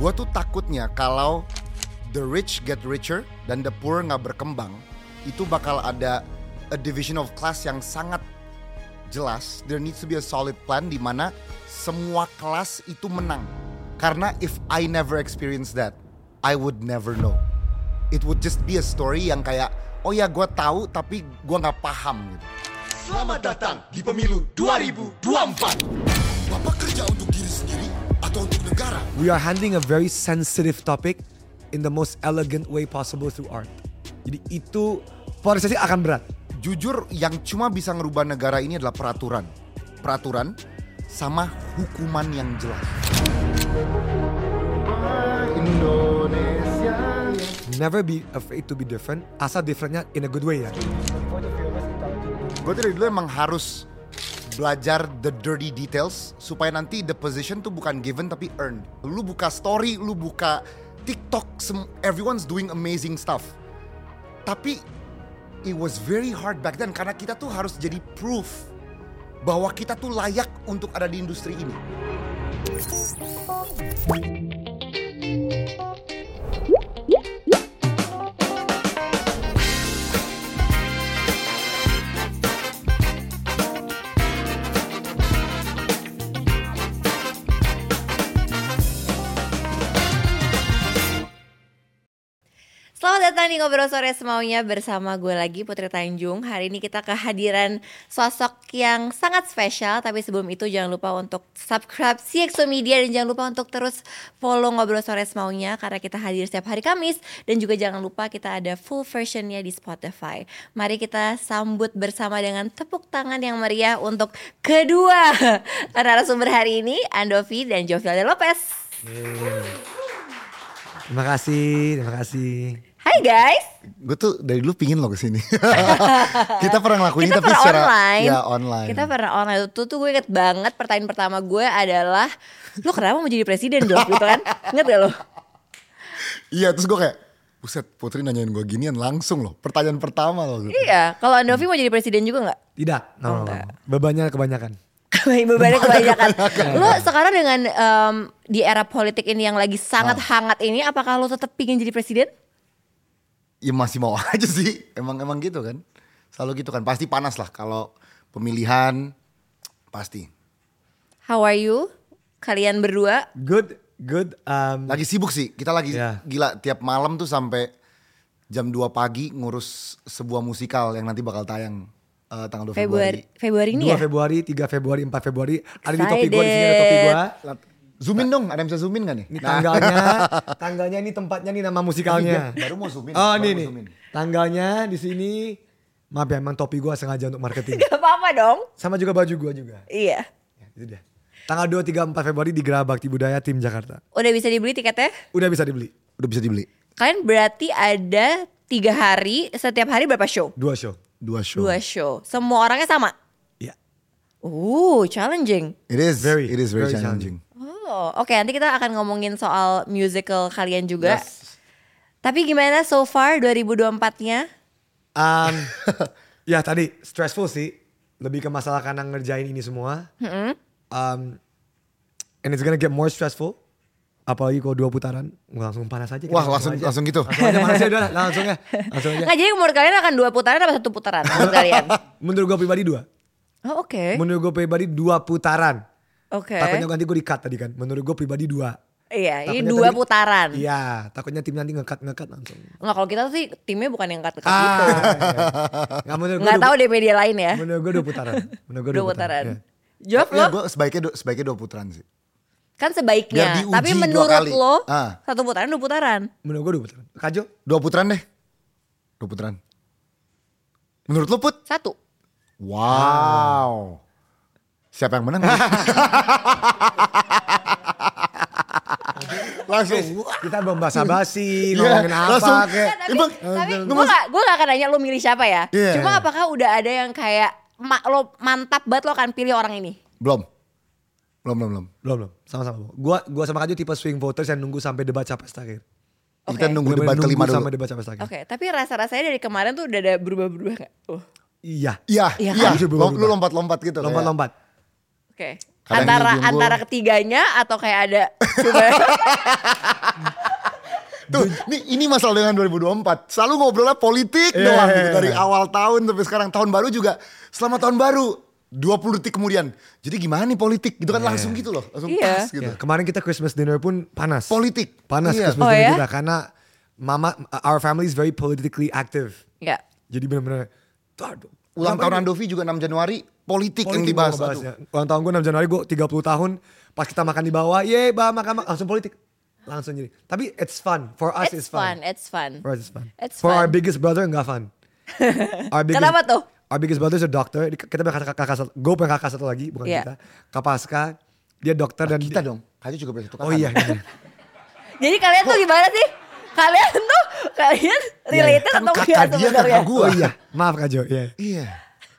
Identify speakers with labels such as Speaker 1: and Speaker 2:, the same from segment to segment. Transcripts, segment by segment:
Speaker 1: Gue tuh takutnya kalau the rich get richer dan the poor nggak berkembang, itu bakal ada a division of class yang sangat jelas. There needs to be a solid plan di mana semua kelas itu menang. Karena if I never experience that, I would never know. It would just be a story yang kayak, oh ya gue tahu tapi gue nggak paham gitu.
Speaker 2: Selamat datang di pemilu 2024. Bapak kerja untuk diri sendiri atau untuk negara?
Speaker 3: We are handling a very sensitive topic in the most elegant way possible through art. Jadi itu polarisasi akan berat.
Speaker 1: Jujur yang cuma bisa ngerubah negara ini adalah peraturan. Peraturan sama hukuman yang jelas.
Speaker 3: Never be afraid to be different, asal differentnya in a good way ya.
Speaker 1: Gue dari dulu emang harus belajar the dirty details supaya nanti the position tuh bukan given tapi earned. Lu buka story, lu buka TikTok, sem- everyone's doing amazing stuff. Tapi it was very hard back then karena kita tuh harus jadi proof bahwa kita tuh layak untuk ada di industri ini.
Speaker 4: Selamat datang di Ngobrol Sore Semaunya bersama gue lagi Putri Tanjung Hari ini kita kehadiran sosok yang sangat spesial Tapi sebelum itu jangan lupa untuk subscribe CXO Media Dan jangan lupa untuk terus follow Ngobrol Sore Semaunya Karena kita hadir setiap hari Kamis Dan juga jangan lupa kita ada full versionnya di Spotify Mari kita sambut bersama dengan tepuk tangan yang meriah Untuk kedua narasumber hari ini Andovi dan Jovialda Lopez
Speaker 3: Terima kasih, terima kasih.
Speaker 4: Hai guys
Speaker 1: Gue tuh dari dulu pingin loh kesini. kita pernah ngelakuin ini
Speaker 4: kita
Speaker 1: tapi
Speaker 4: pernah
Speaker 1: secara
Speaker 4: online.
Speaker 1: ya online.
Speaker 4: Kita pernah online itu tuh gue inget banget pertanyaan pertama gue adalah lu kenapa mau jadi presiden dong gitu kan? Ingat gak lo?
Speaker 1: Iya terus gue kayak Buset Putri nanyain gue ginian langsung loh Pertanyaan pertama loh
Speaker 4: Iya, kalau Andovi mau jadi presiden juga nggak?
Speaker 3: Tidak,
Speaker 4: Oh,
Speaker 3: no, no, no.
Speaker 4: enggak.
Speaker 3: Bebannya kebanyakan.
Speaker 4: Bebannya kebanyakan. Lu sekarang dengan em, di era politik ini yang lagi sangat
Speaker 1: Ah.
Speaker 4: hangat ini, apakah lu tetap pingin jadi presiden?
Speaker 1: Ya masih mau aja sih Emang emang gitu kan Selalu gitu kan Pasti panas lah kalau pemilihan Pasti
Speaker 4: How are you? Kalian berdua?
Speaker 3: Good, good. Um,
Speaker 1: Lagi sibuk sih Kita lagi
Speaker 3: Iya.
Speaker 1: gila Tiap malam tuh sampai jam 2 pagi Ngurus sebuah musikal yang nanti bakal tayang eh, Tanggal 2
Speaker 4: Februari
Speaker 1: Februari,
Speaker 4: Februari ini
Speaker 3: 2
Speaker 4: ya?
Speaker 3: Februari, 3 Februari, 4 Februari. Ada di topi gue, di sini ada topi gue.
Speaker 1: Zoomin dong Ada yang bisa zoomin gak nih?
Speaker 3: Ini
Speaker 1: Nah,
Speaker 3: tanggalnya, tanggalnya ini tempatnya nih nama musikalnya.
Speaker 1: Iya, Baru mau zoomin
Speaker 3: Oh
Speaker 1: baru mau
Speaker 3: ini nih,
Speaker 1: zoomin.
Speaker 3: tanggalnya di sini. Maaf ya, emang topi gue sengaja untuk marketing.
Speaker 4: Gak apa-apa dong.
Speaker 3: Sama juga baju gue juga.
Speaker 4: Iya.
Speaker 3: Ya, itu dia. Tanggal 2, 3, 4 Februari di Gerabakti Budaya Tim Jakarta.
Speaker 4: Udah bisa dibeli tiketnya?
Speaker 3: Udah bisa dibeli.
Speaker 1: Udah bisa dibeli
Speaker 4: Kalian berarti ada tiga hari, setiap hari berapa show?
Speaker 3: Dua show.
Speaker 1: Dua show
Speaker 4: Dua show. Semua orangnya sama?
Speaker 3: Iya.
Speaker 4: Uh, challenging.
Speaker 1: It is
Speaker 3: Very,
Speaker 1: It is very,
Speaker 3: very
Speaker 1: challenging.
Speaker 4: Oh, oke nanti kita akan ngomongin soal musical kalian juga.
Speaker 1: Yes.
Speaker 4: Tapi gimana so far 2024-nya?
Speaker 3: Um, ya tadi stressful sih. Lebih ke masalah karena ngerjain ini semua. Um, and it's gonna get more stressful. Apalagi kalau dua putaran, gua langsung panas aja. kita
Speaker 1: Wah langsung
Speaker 3: aja.
Speaker 1: langsung gitu.
Speaker 3: Langsung aja panas aja, udah lah, langsung ya.
Speaker 1: Oh,
Speaker 3: Langsung
Speaker 1: iya.
Speaker 3: aja.
Speaker 4: Nggak, jadi menurut kalian akan dua putaran apa satu putaran menurut kalian?
Speaker 3: Menurut gue pribadi dua.
Speaker 4: Oh, oke.
Speaker 3: Menurut gue pribadi dua putaran.
Speaker 4: Oke.
Speaker 3: Takutnya nanti gue di-cut tadi kan. Menurut gue pribadi dua.
Speaker 4: Iya,
Speaker 3: Takutnya
Speaker 4: ini dua
Speaker 3: tadi-
Speaker 4: putaran.
Speaker 3: Iya, takutnya tim nanti ngekat ngekat langsung.
Speaker 4: Nggak, kalau kita sih timnya bukan yang dekat-dekat gitu.
Speaker 3: Ah, nggak menurut gue.
Speaker 4: Nggak
Speaker 3: dua-
Speaker 4: tahu deh media lain ya.
Speaker 3: Menurut gue dua putaran. Menurut gue
Speaker 4: Dua putaran.
Speaker 3: Iya.
Speaker 4: Jawab
Speaker 1: Ya,
Speaker 4: lo,
Speaker 1: gua sebaiknya dua, sebaiknya dua putaran sih.
Speaker 4: kan
Speaker 1: Biar
Speaker 4: sebaiknya.
Speaker 1: diuji
Speaker 4: Tapi
Speaker 1: dua
Speaker 4: menurut
Speaker 1: kali.
Speaker 4: lo,
Speaker 1: Ah.
Speaker 4: satu putaran dua putaran.
Speaker 3: Menurut gue dua putaran. Kajo?
Speaker 1: Dua putaran deh. Dua putaran. Menurut lo Put?
Speaker 4: Satu.
Speaker 1: Wow. Siapa yang menang? Langsung.
Speaker 3: Kita belum basa-basi,
Speaker 1: Iya,
Speaker 3: ngomongin apa
Speaker 1: langsung.
Speaker 3: kayak.
Speaker 4: Tapi,
Speaker 1: Emang-
Speaker 4: tapi
Speaker 1: Emang-
Speaker 4: gue gak, gue gak akan nanya lo milih siapa ya.
Speaker 1: Iya.
Speaker 4: Cuma apakah udah ada yang kayak ma- lo mantap banget lo akan pilih orang ini?
Speaker 1: Belum. Belum, belum, belum.
Speaker 3: Belum, belum. Sama-sama. Gua gua sama Kajo tipe swing voters yang nunggu sampai debat capres terakhir.
Speaker 1: Kita
Speaker 4: Oke.
Speaker 1: nunggu
Speaker 3: Bener-bener
Speaker 1: debat kelima dulu.
Speaker 3: sampai debat capres
Speaker 1: Iya.
Speaker 3: terakhir.
Speaker 4: Oke, tapi rasa-rasanya dari kemarin tuh udah ada berubah-berubah gak? Oh, Oke.
Speaker 3: Iya.
Speaker 1: Iya,
Speaker 4: Iya
Speaker 1: iya.
Speaker 3: kan?
Speaker 1: Lu lu lompat-lompat gitu. kayak.
Speaker 3: Lompat-lompat.
Speaker 4: Oke.
Speaker 1: Kadang
Speaker 4: antara
Speaker 1: dia unggul.
Speaker 4: antara ketiganya atau kayak ada cuma
Speaker 1: Tuh, ini, ini masalah dengan 2024. Selalu ngobrolnya politik
Speaker 3: Iya,
Speaker 1: doang
Speaker 3: iya,
Speaker 1: gitu.
Speaker 3: iya.
Speaker 1: Dari awal tahun sampai sekarang. Tahun baru juga. Selama tahun baru. 20 detik kemudian. Jadi gimana nih politik? Gitu kan langsung gitu loh. Langsung pas
Speaker 4: Iya.
Speaker 1: gitu.
Speaker 3: Ya, kemarin kita Christmas dinner pun panas.
Speaker 1: Politik.
Speaker 3: Panas
Speaker 1: Iya.
Speaker 3: Christmas
Speaker 4: Oh,
Speaker 3: dinner
Speaker 4: ya?
Speaker 3: kita karena mama our family is very politically active.
Speaker 4: ya
Speaker 3: Jadi benar-benar "Tuh, aduh,
Speaker 1: Ulang tahun
Speaker 3: kenapa ini
Speaker 1: Andovi juga 6 Januari. Politik,
Speaker 3: politik ya.
Speaker 1: yang dibahas.
Speaker 3: gua
Speaker 1: Aduh.
Speaker 3: ngebahasnya?" Ulang tahun gue 6 Januari gue 30 tahun. Pas kita makan di bawah, yeay bah makan, makan langsung politik. Langsung jadi. Tapi it's fun. For us it's,
Speaker 4: it's
Speaker 3: fun.
Speaker 4: fun it's fun
Speaker 3: For us it's fun.
Speaker 4: It's
Speaker 3: For our
Speaker 4: fun.
Speaker 3: biggest brother nggak fun. Our biggest-
Speaker 4: Kenapa tuh?
Speaker 3: Our biggest brother is a doctor. Di- Kita punya kakak, kakak satu. Gue punya kakak satu lagi, bukan
Speaker 4: Iya.
Speaker 3: kita. Kapaska. Dia dokter dan
Speaker 1: Kita
Speaker 3: dia-
Speaker 1: dong. Kayu juga berarti
Speaker 3: Oh iya. iya.
Speaker 4: jadi kalian tuh gimana sih kalian tuh kalian
Speaker 3: iya.
Speaker 4: related
Speaker 1: Kan
Speaker 4: atau
Speaker 1: kakak
Speaker 4: enggak
Speaker 1: dia,
Speaker 4: sebenarnya
Speaker 1: kakak
Speaker 3: Oh iya. Maaf Kak Jo. Iya.
Speaker 1: Iya.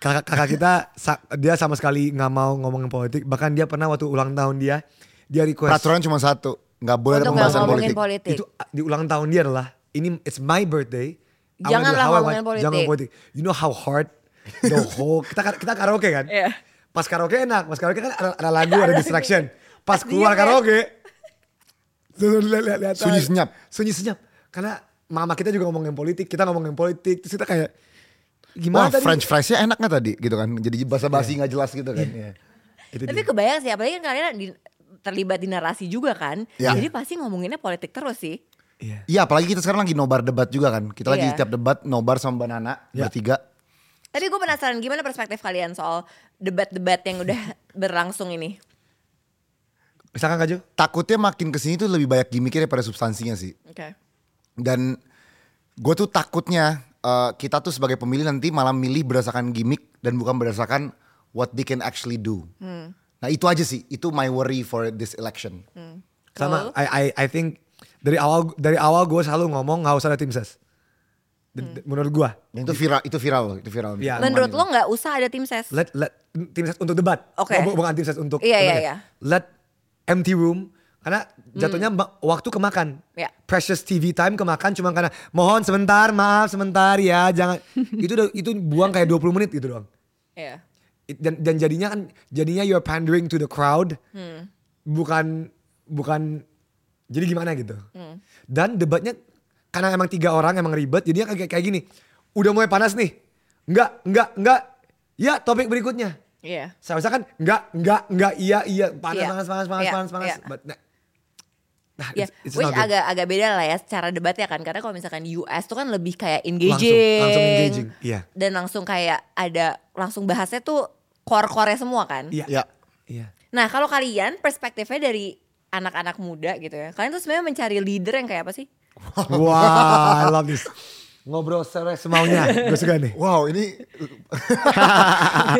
Speaker 3: kakak kakak kita sa- dia sama sekali nggak mau ngomongin politik bahkan dia pernah waktu ulang tahun dia dia request
Speaker 1: Peraturan cuma satu. Nggak boleh ada
Speaker 4: untuk nggak
Speaker 1: pembahasan
Speaker 4: ngomongin
Speaker 1: politik.
Speaker 4: politik,
Speaker 3: itu uh, di ulang tahun dia adalah ini it's my birthday I wanna do
Speaker 4: Janganlah
Speaker 3: how I
Speaker 4: ngomongin
Speaker 3: want.
Speaker 4: politik.
Speaker 3: jangan politik you know how hard the whole kita kar- kita karaoke kan
Speaker 4: Iya.
Speaker 3: pas karaoke enak pas karaoke kan ada, ada lagu ada distraction pas
Speaker 4: Pas
Speaker 3: keluar
Speaker 4: diem ya.
Speaker 3: karaoke Tuh, lihat, lihat, lihat.
Speaker 1: Sunyi senyap.
Speaker 3: sunyi senyap karena mama kita juga ngomongin politik kita ngomongin politik terus kita kayak
Speaker 1: Wah
Speaker 3: gimana tadi?
Speaker 1: french friesnya enak gak tadi gitu kan. Jadi bahasa-bahasi nggak jelas gitu kan. Iya.
Speaker 3: Itu
Speaker 4: tapi
Speaker 3: dia.
Speaker 4: kebayang sih apalagi kan kalian di- terlibat di narasi juga kan
Speaker 1: Ya.
Speaker 4: jadi pasti ngomonginnya politik terus sih
Speaker 3: Iya.
Speaker 1: Iya apalagi kita sekarang lagi nobar debat juga kan. Kita lagi
Speaker 4: Iya.
Speaker 1: setiap debat nobar sama banana
Speaker 3: Iya.
Speaker 1: bertiga.
Speaker 4: tapi gue penasaran gimana perspektif kalian soal debat-debat yang udah berlangsung ini
Speaker 3: misalkan Kak Jo
Speaker 1: Takutnya makin kesini tuh lebih banyak gimmicknya daripada substansinya sih.
Speaker 4: oke
Speaker 1: Dan gue tuh takutnya eh, kita tuh sebagai pemilih nanti malah milih berdasarkan gimmick dan bukan berdasarkan what they can actually do.
Speaker 4: Hmm.
Speaker 1: Nah itu aja sih, itu my worry for this election.
Speaker 3: sama
Speaker 4: Kalau-
Speaker 3: I I I think dari awal dari awal gue selalu ngomong nggak usah ada tim ses D-
Speaker 4: Hmm.
Speaker 3: d- menurut gue
Speaker 1: Yang itu viral, itu viral loh, itu viral.
Speaker 3: Iya.
Speaker 1: Aman
Speaker 4: menurut
Speaker 1: itu.
Speaker 4: lo nggak usah ada tim ses
Speaker 3: let let tim ses untuk debat
Speaker 4: Oke.
Speaker 3: Bu- bukan tim ses untuk
Speaker 4: Iya,
Speaker 3: debat
Speaker 4: iya,
Speaker 3: ya.
Speaker 4: iya. Hmm.
Speaker 3: let empty room karena jatuhnya ma- waktu kemakan
Speaker 4: Iya.
Speaker 3: precious TV time kemakan cuma karena mohon sebentar maaf sebentar ya jangan itu udah- itu buang kayak 20 menit gitu doang
Speaker 4: Iya.
Speaker 3: It- dan dan jadinya kan jadinya you're pandering to the crowd
Speaker 4: Hmm.
Speaker 3: bukan bukan jadi gimana gitu
Speaker 4: Hmm.
Speaker 3: dan debatnya karena emang tiga orang emang ribet jadinya kayak kayak gini udah mulai panas nih enggak enggak enggak ya topik berikutnya
Speaker 4: Iya.
Speaker 3: seharusnya kan enggak enggak enggak iya iya panas
Speaker 4: Iya.
Speaker 3: panas panas panas
Speaker 4: Iya,
Speaker 3: panas panas
Speaker 4: iya.
Speaker 3: But, nah, nah,
Speaker 4: Ya,
Speaker 3: it's- it's
Speaker 4: which
Speaker 3: not good.
Speaker 4: agak agak beda lah ya secara debatnya kan karena kalau misalkan di US tuh kan lebih kayak engaging, Hmm?
Speaker 3: langsung engaging, iya.
Speaker 4: dan langsung kayak ada langsung bahasnya tuh core-core semua kan.
Speaker 3: iya
Speaker 1: Iya.
Speaker 3: iya
Speaker 4: Nah kalau kalian perspektifnya dari anak-anak muda gitu ya, kalian tuh sebenarnya mencari leader yang kayak apa sih?
Speaker 3: wah I love this ngobrol secara semaunya gue suka nih
Speaker 1: Wow ini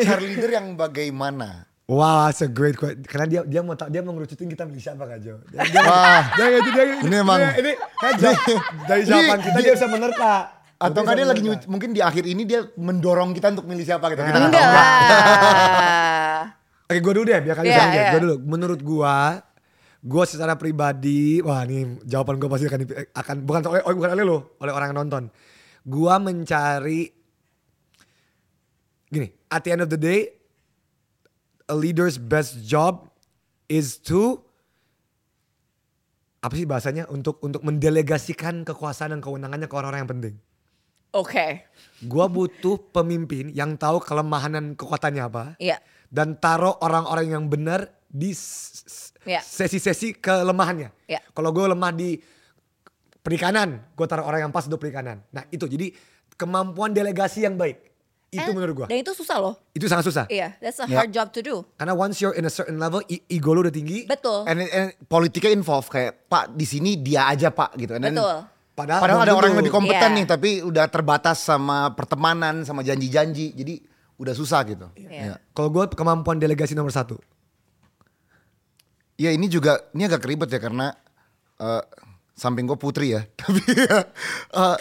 Speaker 1: Charlie leader yang bagaimana?
Speaker 3: Wow, that's a great question. Karena dia dia mau ta- dia mau ngerucutin kita milih siapa Kak Jo. Dia, dia,
Speaker 1: Wah.
Speaker 3: dia, dia, dia, dia-
Speaker 1: Ini emang-
Speaker 3: dia- ini Kak Jo, dari jawaban
Speaker 1: ini-
Speaker 3: kita dia bisa menerka.
Speaker 1: Atau
Speaker 3: Dia
Speaker 1: kan
Speaker 3: bisa
Speaker 1: dia lagi
Speaker 3: menerka.
Speaker 1: nyuci- mungkin di akhir ini dia mendorong kita untuk milih siapa gitu.
Speaker 3: Nah,
Speaker 1: Kita nggak
Speaker 4: Enggak
Speaker 1: tahu.
Speaker 4: lah.
Speaker 3: Oke, gua dulu deh, biar kalian
Speaker 4: Iya,
Speaker 3: bisa lihat.
Speaker 4: iya.
Speaker 3: Gua dulu. Menurut gua, gua secara pribadi, wah ini jawaban gua pasti akan dipi- akan bukan oleh oleh- bukan oleh lo, oleh orang yang nonton. Gua mencari gini, at the end of the day a leader's best job is to apa sih bahasanya untuk untuk mendelegasikan kekuasaan dan kewenangannya ke orang-orang yang penting.
Speaker 4: Oke.
Speaker 3: Gua butuh pemimpin yang tahu kelemahan dan kekuatannya apa.
Speaker 4: Iya.
Speaker 3: Dan taruh orang-orang yang benar di s- s-
Speaker 4: Iya.
Speaker 3: sesi-sesi kelemahannya.
Speaker 4: Iya.
Speaker 3: Kalau gue lemah di perikanan, gue taruh orang yang pas untuk perikanan. Nah itu jadi kemampuan delegasi yang baik. Itu
Speaker 4: Eh,
Speaker 3: menurut gue.
Speaker 4: Dan itu susah loh.
Speaker 3: Itu sangat susah.
Speaker 4: Iya, that's a
Speaker 1: Ya.
Speaker 4: hard job to do.
Speaker 3: Karena once you're in a certain level, i- ego lu udah tinggi.
Speaker 4: Betul.
Speaker 1: And, and politiknya involve kayak Pak di sini dia aja Pak gitu. And then-
Speaker 4: Betul.
Speaker 3: Padahal,
Speaker 1: Padahal
Speaker 3: belum
Speaker 1: ada orang yang
Speaker 3: tentu.
Speaker 1: lebih kompeten
Speaker 4: Iya.
Speaker 1: nih, tapi udah terbatas sama pertemanan, sama janji-janji, jadi udah susah gitu. Iya.
Speaker 4: Iya.
Speaker 3: Kalau gue kemampuan delegasi nomor satu.
Speaker 1: Ya ini juga ini agak ribet ya karena eh, samping gue putri ya, tapi ya, eh,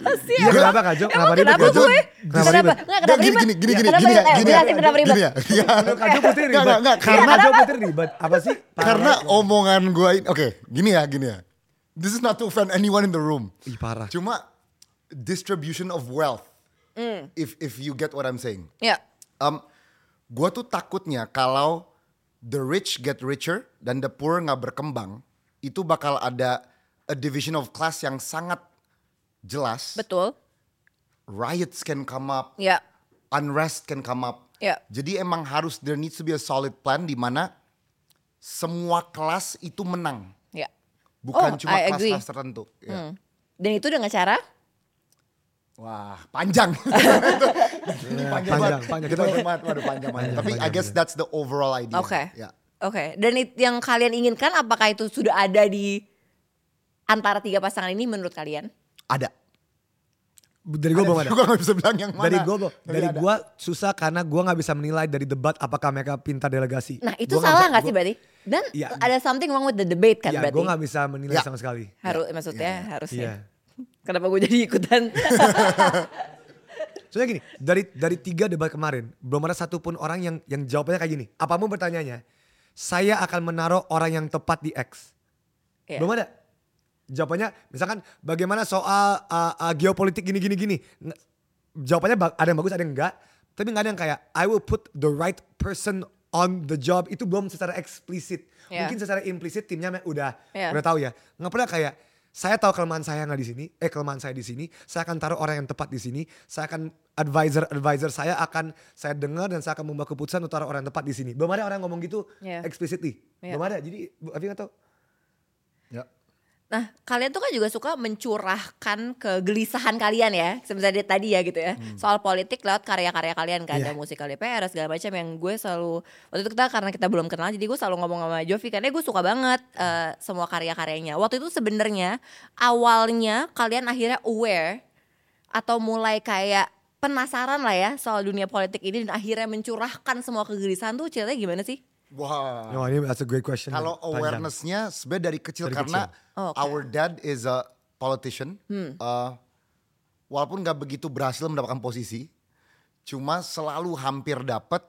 Speaker 4: Pasti
Speaker 3: Iya, kenapa Kak Jo? Kenapa ribet
Speaker 4: kenapa
Speaker 3: Kak Jo?
Speaker 4: gue?
Speaker 3: Kenapa
Speaker 4: Kenapa?
Speaker 3: ribet?
Speaker 4: Enggak, kenapa
Speaker 1: gini,
Speaker 4: ribet?
Speaker 1: gini, gini, gini,
Speaker 4: Kenapa
Speaker 1: gini ya,
Speaker 4: ribet? Eh,
Speaker 1: gini ya,
Speaker 4: jelasin kenapa ribet.
Speaker 1: gini ya. Iya.
Speaker 3: Menurut Kak Jo putri
Speaker 1: Enggak,
Speaker 3: ribet.
Speaker 1: enggak, enggak, karena
Speaker 3: Kak Jo putri ribet. Apa sih?
Speaker 1: karena
Speaker 3: Parah.
Speaker 1: omongan gue, ini- oke, gini ya, gini ya. This is not to offend anyone in the room.
Speaker 3: Ih,
Speaker 4: Ah.
Speaker 3: parah.
Speaker 1: Cuma distribution of wealth.
Speaker 4: Mm.
Speaker 1: If if you get what I'm saying.
Speaker 4: Iya.
Speaker 1: um, gue tuh takutnya kalau the rich get richer dan the poor nggak berkembang, itu bakal ada a division of class yang sangat jelas.
Speaker 4: Betul.
Speaker 1: Riots can come up,
Speaker 4: Ya.
Speaker 1: unrest can come up.
Speaker 4: Ya.
Speaker 1: Jadi emang harus there needs to be a solid plan di mana semua kelas itu menang,
Speaker 4: Ya.
Speaker 1: bukan
Speaker 4: Oh,
Speaker 1: cuma
Speaker 4: I agree. Hmm.
Speaker 1: kelas-kelas tertentu. Ya.
Speaker 4: Dan itu dengan cara
Speaker 1: Wah, panjang. Ini panjang,
Speaker 3: panjang,
Speaker 1: banget.
Speaker 3: panjang.
Speaker 1: Kita hormat, waduh panjang banget.
Speaker 3: Panjang,
Speaker 1: Tapi I
Speaker 3: panjang,
Speaker 1: guess that's the overall idea.
Speaker 4: oke.
Speaker 1: Ya.
Speaker 4: Oke. Dan it- yang kalian inginkan apakah itu sudah ada di antara tiga pasangan ini menurut kalian?
Speaker 1: Ada.
Speaker 3: Dari gue belum ada.
Speaker 1: Gue gak bisa bilang yang mana.
Speaker 3: Dari gue belum.
Speaker 1: Tapi
Speaker 3: Dari
Speaker 1: ada.
Speaker 3: gue susah karena gue nggak bisa menilai dari debat apakah mereka pintar delegasi.
Speaker 4: Nah, itu
Speaker 3: Gua
Speaker 4: salah
Speaker 3: bisa-
Speaker 4: nggak sih
Speaker 3: gua-
Speaker 4: berarti? Dan
Speaker 3: Ya.
Speaker 4: ada something wrong with the debate kan
Speaker 3: Ya,
Speaker 4: berarti?
Speaker 3: gue nggak bisa menilai
Speaker 1: Ya.
Speaker 3: sama sekali.
Speaker 4: Harus eh, maksudnya harusnya.
Speaker 3: Iya.
Speaker 4: Kenapa gue jadi ikutan?
Speaker 3: Soalnya gini, dari dari tiga debat kemarin belum ada satupun orang yang yang jawabannya kayak gini. Apapun pertanyaannya, saya akan menaruh orang yang tepat di X.
Speaker 4: Iya.
Speaker 3: Belum ada. Jawabannya misalkan bagaimana soal uh, uh, geopolitik gini gini gini. Nge- Jawabannya ba- ada yang bagus ada yang enggak. Tapi nggak ada yang kayak I will put the right person on the job itu belum secara eksplisit.
Speaker 4: Iya.
Speaker 3: Mungkin secara implisit timnya me- udah
Speaker 4: Iya.
Speaker 3: udah tahu ya. Nggak pernah kayak saya tahu kelemahan saya nggak di sini, eh kelemahan saya di sini, saya akan taruh orang yang tepat di sini, saya akan advisor advisor saya akan saya dengar dan saya akan membuat keputusan untuk taruh orang yang tepat di sini. Belum ada orang ngomong gitu
Speaker 4: Iya.
Speaker 3: explicitly.
Speaker 4: Iya.
Speaker 3: Belum ada. Jadi Bu Avi nggak tahu.
Speaker 1: Ya.
Speaker 4: Nah, kalian tuh kan juga suka mencurahkan kegelisahan kalian ya, sebenarnya tadi ya gitu ya, soal politik lewat karya-karya kalian kan,
Speaker 3: Iya.
Speaker 4: ada musikal DPR segala macam yang gue selalu waktu itu kita karena kita belum kenal, jadi gue selalu ngomong sama Jovi karena gue suka banget eh, semua karya-karyanya. Waktu itu sebenarnya awalnya kalian akhirnya aware atau mulai kayak penasaran lah ya soal dunia politik ini dan akhirnya mencurahkan semua kegelisahan tuh ceritanya gimana sih?
Speaker 1: Wah.
Speaker 3: No, Oh, ini that's a great question.
Speaker 1: Kalau
Speaker 3: Panjang.
Speaker 1: awarenessnya sebenarnya dari kecil
Speaker 3: Dari
Speaker 1: karena
Speaker 4: Oh, oke. Hmm.
Speaker 1: our dad is a politician. Uh, walaupun nggak begitu berhasil mendapatkan posisi, cuma selalu hampir dapat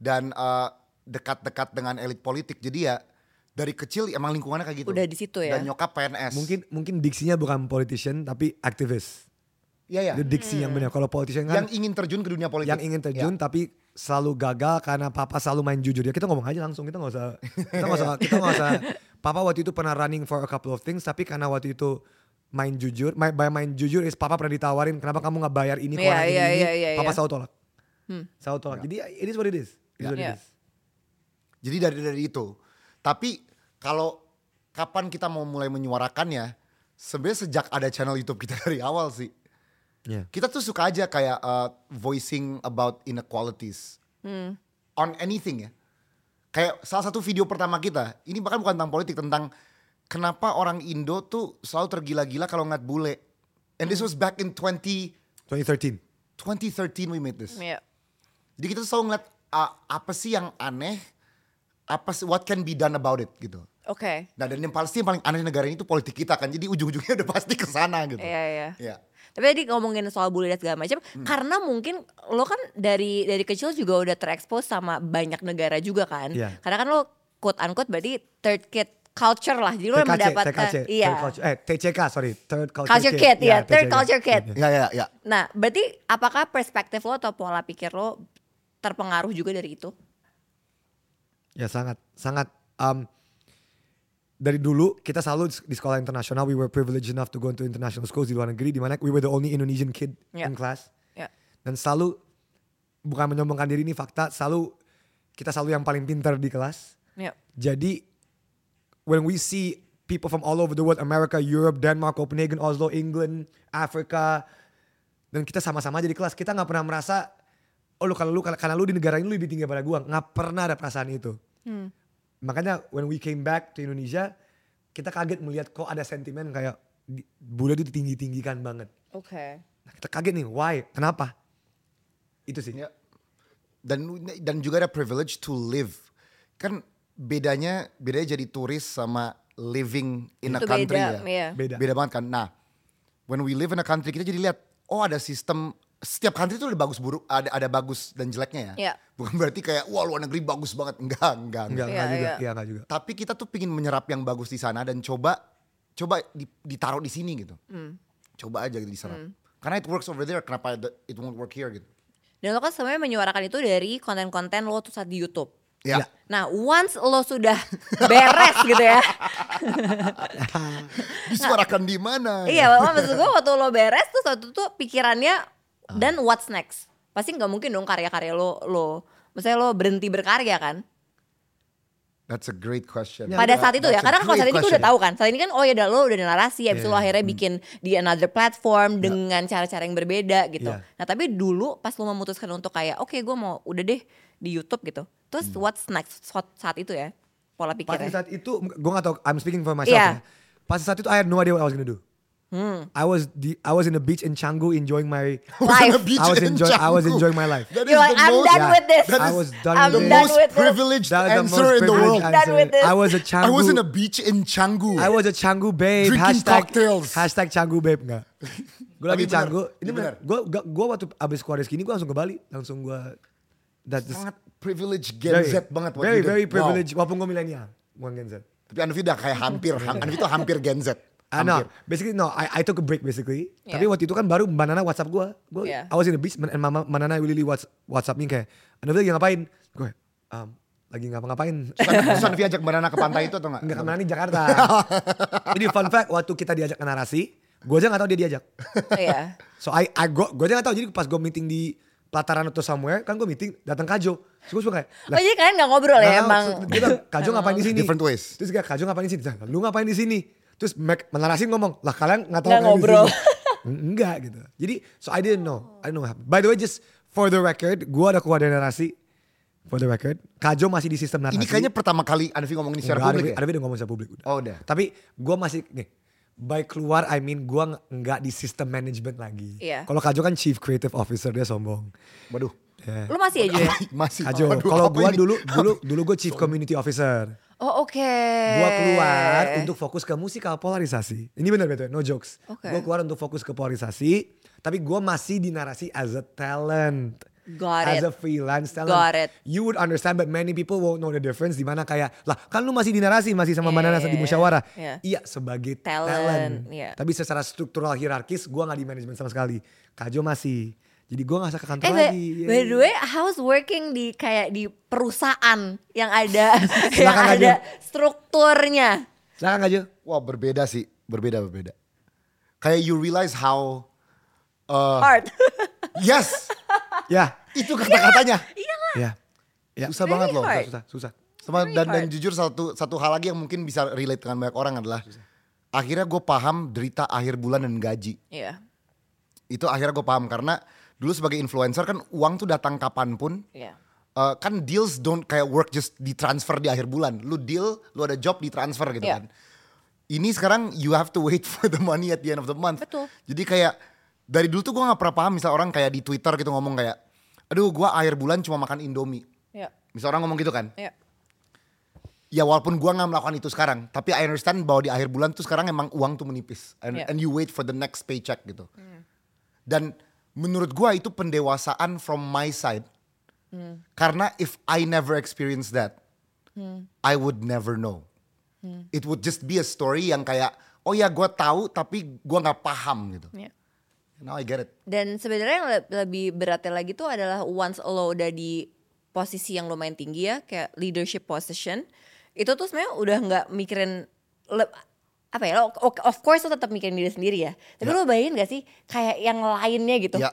Speaker 1: dan uh, dekat-dekat dengan elit politik. Jadi ya dari kecil emang lingkungannya kayak gitu.
Speaker 4: Udah di situ ya?
Speaker 1: Dan nyokap PNS.
Speaker 3: mungkin mungkin diksinya bukan politician tapi aktivis.
Speaker 1: Iya ya.
Speaker 3: Itu diksi yang
Speaker 4: Hmm.
Speaker 3: benar. Kalau politician kan
Speaker 1: Yang ingin terjun ke dunia politik. Iya.
Speaker 3: yang ingin terjun tapi selalu gagal karena papa selalu main jujur ya kita ngomong aja langsung kita nggak usah kita nggak usah kita nggak usah papa waktu itu pernah running for a couple of things tapi karena waktu itu main jujur main, by main jujur is papa pernah ditawarin kenapa kamu nggak bayar ini ke
Speaker 4: Iya,
Speaker 3: orang ini,
Speaker 4: iya,
Speaker 3: ini?"
Speaker 4: iya, iya,
Speaker 3: papa
Speaker 4: iya.
Speaker 3: selalu tolak selalu
Speaker 1: Iya.
Speaker 3: tolak jadi it is what it is, It is
Speaker 1: Ya.
Speaker 3: what it
Speaker 4: Ya.
Speaker 3: is.
Speaker 1: Jadi dari dari itu. Tapi kalau kapan kita mau mulai menyuarakannya, sebenarnya sejak ada channel YouTube kita dari awal sih.
Speaker 3: Ya.
Speaker 1: Kita tuh suka aja kayak uh, voicing about inequalities on anything ya. Kayak salah satu video pertama kita, ini bahkan bukan tentang politik, tentang kenapa orang Indo tuh selalu tergila-gila kalau ngeliat bule. And this was back in 20
Speaker 3: 2013
Speaker 1: 2013 we made this.
Speaker 4: Iya.
Speaker 1: Jadi kita tuh selalu ngeliat uh, apa sih yang aneh, apa sih what can be done about it gitu.
Speaker 4: Oke.
Speaker 1: Nah dan yang pasti yang paling aneh negara ini tuh politik kita kan. Jadi ujung-ujungnya udah pasti ke sana gitu.
Speaker 4: Iya, iya.
Speaker 1: Iya.
Speaker 4: Tapi tadi ngomongin soal bully dan segala macam,
Speaker 3: Hmm.
Speaker 4: karena mungkin lo kan dari dari kecil juga udah terekspos sama banyak negara juga kan.
Speaker 3: Iya.
Speaker 4: Karena kan lo quote unquote berarti third kid culture lah. Jadi lo
Speaker 3: TKC
Speaker 4: mendapatkan
Speaker 3: TKC
Speaker 4: iya.
Speaker 3: third culture, eh TCK sorry third culture,
Speaker 4: Culture kid,
Speaker 3: Ya,
Speaker 4: ya, third
Speaker 3: TCK.
Speaker 4: culture kid.
Speaker 1: Iya iya iya.
Speaker 4: Nah, berarti apakah perspektif lo atau pola pikir lo terpengaruh juga dari itu?
Speaker 3: Ya sangat, sangat. Um, dari dulu kita selalu di sekolah internasional, we were privileged enough to go into international schools di luar negeri, di mana we were the only Indonesian kid
Speaker 4: Ya.
Speaker 3: in class.
Speaker 4: Ya.
Speaker 3: Dan selalu, bukan menyombongkan diri ini fakta, selalu kita selalu yang paling pintar di kelas.
Speaker 4: Iya.
Speaker 3: Jadi, when we see people from all over the world, America, Europe, Denmark, Copenhagen, Oslo, England, Africa, dan kita sama-sama jadi kelas, kita nggak pernah merasa, oh lu kalau lu karena lu di negara ini lu lebih tinggi daripada gua, nggak pernah ada perasaan itu. Makanya when we came back to Indonesia, kita kaget melihat kok ada sentimen kayak di- bule itu ditinggi-tinggikan banget.
Speaker 4: Oke.
Speaker 3: Nah, kita kaget nih, why? Kenapa? Itu sih.
Speaker 1: Iya. Dan dan juga ada privilege to live. Kan bedanya bedanya jadi turis sama living in a
Speaker 4: Itu
Speaker 1: country ya.
Speaker 4: beda, iya.
Speaker 3: Beda.
Speaker 1: Beda banget kan. Nah, when we live in a country kita jadi lihat oh ada sistem setiap country tuh ada bagus buruk ada ada bagus dan jeleknya ya.
Speaker 4: Iya.
Speaker 1: Bukan berarti kayak wah luar negeri bagus banget. Enggak, enggak, enggak.
Speaker 3: Enggak,
Speaker 4: Iya,
Speaker 3: enggak juga.
Speaker 4: iya.
Speaker 3: Iya, enggak juga.
Speaker 1: tapi kita tuh pingin menyerap yang bagus di sana dan coba coba di- ditaruh di sini gitu
Speaker 4: Hmm.
Speaker 1: coba aja gitu diserap karena it works over there kenapa the- it won't work here gitu
Speaker 4: Dan lo kan sebenarnya menyuarakan itu dari konten-konten lo tuh saat di YouTube.
Speaker 1: Ya.
Speaker 3: Iya.
Speaker 4: Nah, once lo sudah beres gitu ya.
Speaker 1: Disuarakan di mana?
Speaker 3: Oh,
Speaker 4: iya, wah, maksud gue waktu lo beres tuh waktu itu pikirannya
Speaker 3: Ah.
Speaker 4: dan what's next. Pasti nggak mungkin dong karya-karya lo lo Maksudnya lo berhenti berkarya kan?
Speaker 1: That's a great question.
Speaker 4: Pada saat itu
Speaker 1: That's
Speaker 4: ya,
Speaker 1: a
Speaker 4: karena kalau saat
Speaker 1: great
Speaker 4: ini kita udah
Speaker 1: question.
Speaker 4: tahu kan. Saat ini kan oh ya udah lo udah ada narasi, habis itu lo
Speaker 3: Iya,
Speaker 4: akhirnya
Speaker 3: hmm.
Speaker 4: bikin di another platform dengan cara-cara yang berbeda gitu.
Speaker 3: Iya.
Speaker 4: Nah tapi dulu pas lo memutuskan untuk kayak oke gue mau udah deh di YouTube gitu. Terus what's next saat, saat itu ya pola
Speaker 3: Hmm. Pas di
Speaker 4: pikirnya.
Speaker 3: saat itu, gue gak tau, I'm speaking for myself
Speaker 4: Iya. Hmm.
Speaker 3: ya. Pas di saat itu, I had no idea what I was gonna do. I was the, I was in the beach in Canggu enjoying my
Speaker 4: Life.
Speaker 1: The beach
Speaker 3: I was
Speaker 1: in
Speaker 3: enjoy- I was
Speaker 1: Canggu.
Speaker 3: enjoying my life.
Speaker 1: That is
Speaker 4: You're like,
Speaker 1: the
Speaker 4: I'm
Speaker 1: most,
Speaker 4: done
Speaker 3: Yeah,
Speaker 4: with this.
Speaker 1: that
Speaker 3: I was done
Speaker 4: I'm
Speaker 1: the
Speaker 3: with
Speaker 4: done
Speaker 1: most
Speaker 4: with this.
Speaker 1: privileged
Speaker 3: That is the
Speaker 1: answer
Speaker 3: most
Speaker 1: in the
Speaker 3: privileged
Speaker 1: world.
Speaker 4: Done with this.
Speaker 3: I was a Canggu.
Speaker 1: I was in a beach in Canggu.
Speaker 3: I was a Canggu babe.
Speaker 1: Drinking
Speaker 3: hashtag,
Speaker 1: cocktails.
Speaker 3: Hashtag Canggu babe enggak. Gue lagi
Speaker 1: Tapi benar,
Speaker 3: Canggu. Ini
Speaker 1: ini
Speaker 3: benar.
Speaker 1: benar.
Speaker 3: Gue gue waktu abis keluar dari sini gue langsung ke Bali. Langsung gue. That is
Speaker 1: sangat privileged Gen Z banget what you
Speaker 3: Very
Speaker 1: do.
Speaker 3: very
Speaker 1: Wow.
Speaker 3: privileged. Walaupun gue milenial. Bukan Gen Z.
Speaker 1: Tapi Anvi udah kayak hampir, ham- Anvi tuh hampir Gen Z.
Speaker 3: Ah no,
Speaker 1: Hampir.
Speaker 3: basically no, I, I took a break basically.
Speaker 4: Yeah.
Speaker 3: Tapi waktu itu kan baru Mbak Nana WhatsApp gue. Gue
Speaker 4: Yeah.
Speaker 3: I was in the beach and Mama Mbak Nana really WhatsApp WhatsApp me kayak, Anda lagi ngapain? Gue, um, lagi ngapa-ngapain?
Speaker 1: Terus Anvi ajak Mbak Nana ke pantai itu atau enggak?
Speaker 3: Enggak kemana nih Jakarta. Ini fun fact waktu kita diajak ke narasi, gue aja gak tau dia diajak.
Speaker 4: Iya.
Speaker 3: So I, I gue, gue aja gak tau. Jadi pas gue meeting di Plataran atau somewhere, kan gue meeting datang Kajo. Terus gue suka kayak,
Speaker 4: Oh jadi kalian nggak ngobrol ya
Speaker 3: nah,
Speaker 4: emang.
Speaker 3: terus Dia bilang, Kajo ngapain di sini?
Speaker 1: Different ways.
Speaker 3: Terus kayak Kajo ngapain di sini? Lah, Lu ngapain di sini? Terus Mac menarasi ngomong, lah kalian nggak tahu
Speaker 4: Nggak
Speaker 3: kalian di
Speaker 4: ngobrol.
Speaker 3: sini." Mm, Enggak gitu. Jadi so I didn't know. I didn't know what happened. By the way just for the record, gua ada keluar dari narasi. For the record, Kajo masih di sistem narasi.
Speaker 1: Ini kayaknya pertama kali Anvi ngomong ini secara
Speaker 3: Enggak,
Speaker 1: publik ya?
Speaker 3: Arvi, Arvi udah ngomong secara publik udah.
Speaker 1: Oh, udah.
Speaker 3: Tapi gue masih nih by keluar I mean gue nggak di sistem management lagi.
Speaker 4: Iya.
Speaker 3: Kalau Kajo kan chief creative officer dia sombong.
Speaker 1: Waduh.
Speaker 3: Ya.
Speaker 4: Lu masih aja ya?
Speaker 1: Masih.
Speaker 3: Kajo,
Speaker 1: Waduh,
Speaker 3: kalau
Speaker 1: apa
Speaker 3: gue
Speaker 1: ini?
Speaker 3: dulu dulu dulu gue chief community officer.
Speaker 4: Oh oke.
Speaker 3: Gue keluar untuk fokus ke musikal polarisasi. Ini benar betul, no jokes.
Speaker 4: Oke.
Speaker 3: Gue keluar untuk fokus ke polarisasi, tapi gue masih di narasi as a talent.
Speaker 4: Got
Speaker 3: as a
Speaker 4: it.
Speaker 3: freelance talent.
Speaker 4: Got it.
Speaker 3: You would understand but many people won't know the difference di mana kayak lah kan lu masih di narasi masih sama Mbak
Speaker 4: Iya,
Speaker 3: Nana di
Speaker 4: iya, iya.
Speaker 3: musyawarah.
Speaker 4: Iya.
Speaker 3: Iya sebagai
Speaker 4: Talent,
Speaker 3: talent.
Speaker 4: iya.
Speaker 3: Tapi secara struktural hierarkis gue nggak di manajemen sama sekali. Kajo masih. Jadi gue nggak usah ke kantor
Speaker 4: Eh, by,
Speaker 3: lagi.
Speaker 4: by the way, how's working di kayak di perusahaan yang ada yang
Speaker 3: Silakan
Speaker 4: ada
Speaker 3: aja.
Speaker 4: strukturnya?
Speaker 3: Silakan Kajo.
Speaker 1: Wah berbeda sih, berbeda berbeda. Kayak you realize how uh,
Speaker 4: Art.
Speaker 1: yes
Speaker 3: Ya.
Speaker 1: itu kata-katanya.
Speaker 3: Ya. Ya.
Speaker 1: Susah
Speaker 4: Very
Speaker 1: banget loh.
Speaker 4: hard.
Speaker 3: Susah, susah.
Speaker 1: Sama
Speaker 4: Very
Speaker 1: dan, dan
Speaker 4: hard.
Speaker 1: jujur satu satu hal lagi yang mungkin bisa relate dengan banyak orang adalah akhirnya gue paham derita akhir bulan dan gaji.
Speaker 4: Iya,
Speaker 1: Itu akhirnya gue paham karena dulu sebagai influencer kan uang tuh datang kapanpun.
Speaker 4: iya.
Speaker 1: Eh, kan deals don't kayak work just ditransfer di akhir bulan. Lu deal, lu ada job ditransfer gitu
Speaker 4: Yeah.
Speaker 1: kan. Ini sekarang you have to wait for the money at the end of the month.
Speaker 4: Betul.
Speaker 1: Jadi kayak dari dulu tuh gua nggak pernah paham misal orang kayak di Twitter gitu ngomong kayak, aduh gua akhir bulan cuma makan Indomie.
Speaker 4: Iya.
Speaker 1: Misal orang ngomong gitu kan.
Speaker 4: Iya.
Speaker 1: Ya walaupun gua nggak melakukan itu sekarang, tapi I understand bahwa di akhir bulan tuh sekarang emang uang tuh menipis and,
Speaker 4: Yeah.
Speaker 1: and you wait for the next paycheck gitu. Dan menurut gua itu pendewasaan from my side. Karena if I never experience that, I would never know. It would just be a story yang kayak oh ya gua tahu tapi gua nggak paham gitu.
Speaker 4: Iya.
Speaker 1: Now I get it.
Speaker 4: Dan sebenarnya yang le- lebih beratnya lagi tuh adalah once lo udah di posisi yang lumayan tinggi ya, kayak leadership position, itu tuh sebenarnya udah nggak mikirin le- apa ya lo o- of course lo tetap mikirin diri sendiri ya tapi lo bayangin gak sih kayak yang lainnya gitu
Speaker 1: Ya.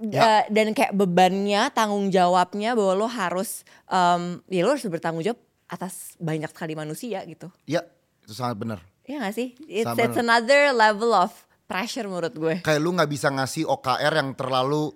Speaker 4: Da- Eh, dan kayak bebannya tanggung jawabnya bahwa lo harus em, ya lo harus bertanggung jawab atas banyak sekali manusia gitu
Speaker 1: Ya, itu sangat benar.
Speaker 4: ya gak sih it's,
Speaker 1: Sama.
Speaker 4: it's another level of pressure menurut gue
Speaker 1: kayak lu nggak bisa ngasih OKR yang terlalu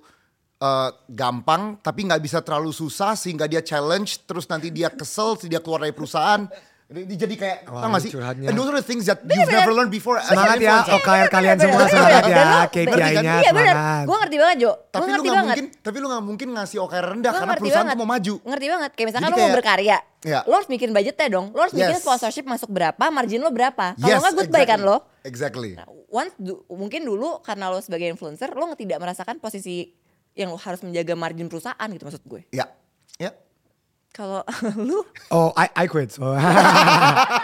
Speaker 1: eh, gampang tapi nggak bisa terlalu susah sehingga dia challenge terus nanti dia kesel terus dia keluar dari perusahaan Ini jadi kayak
Speaker 3: Wah,
Speaker 1: tau gak sih
Speaker 3: curhatnya.
Speaker 1: and those are the things that you've never learned before as an
Speaker 3: Semangat ya,
Speaker 1: influencer.
Speaker 3: OKR kalian semua
Speaker 4: Bener,
Speaker 3: semangat
Speaker 4: bener,
Speaker 3: ya.
Speaker 4: bener.
Speaker 3: KPI-nya
Speaker 4: Iya bener,
Speaker 3: semangat.
Speaker 4: gue ngerti banget Jo Gue
Speaker 1: tapi lu
Speaker 4: ngerti
Speaker 1: nggak
Speaker 4: banget
Speaker 1: mungkin tapi lu nggak mungkin ngasih OKR rendah
Speaker 4: Gua
Speaker 1: karena
Speaker 4: ngerti
Speaker 1: perusahaan
Speaker 4: banget.
Speaker 1: tuh mau maju
Speaker 4: Ngerti banget, kayak misalkan
Speaker 1: Jadi
Speaker 4: lo mau
Speaker 1: kayak-
Speaker 4: berkarya
Speaker 1: Iya.
Speaker 4: Lo harus mikirin budgetnya dong Lo harus mikirin
Speaker 1: Yes.
Speaker 4: sponsorship masuk berapa, margin lo berapa Kalau
Speaker 1: Yes,
Speaker 4: nggak goodbye kan
Speaker 1: exactly.
Speaker 4: lo
Speaker 1: exactly
Speaker 4: Nah, once du- mungkin dulu karena lo sebagai influencer lo tidak merasakan posisi yang lo harus menjaga margin perusahaan gitu maksud gue.
Speaker 1: ya ya
Speaker 4: Kalau lu
Speaker 3: Oh, I I quit. So,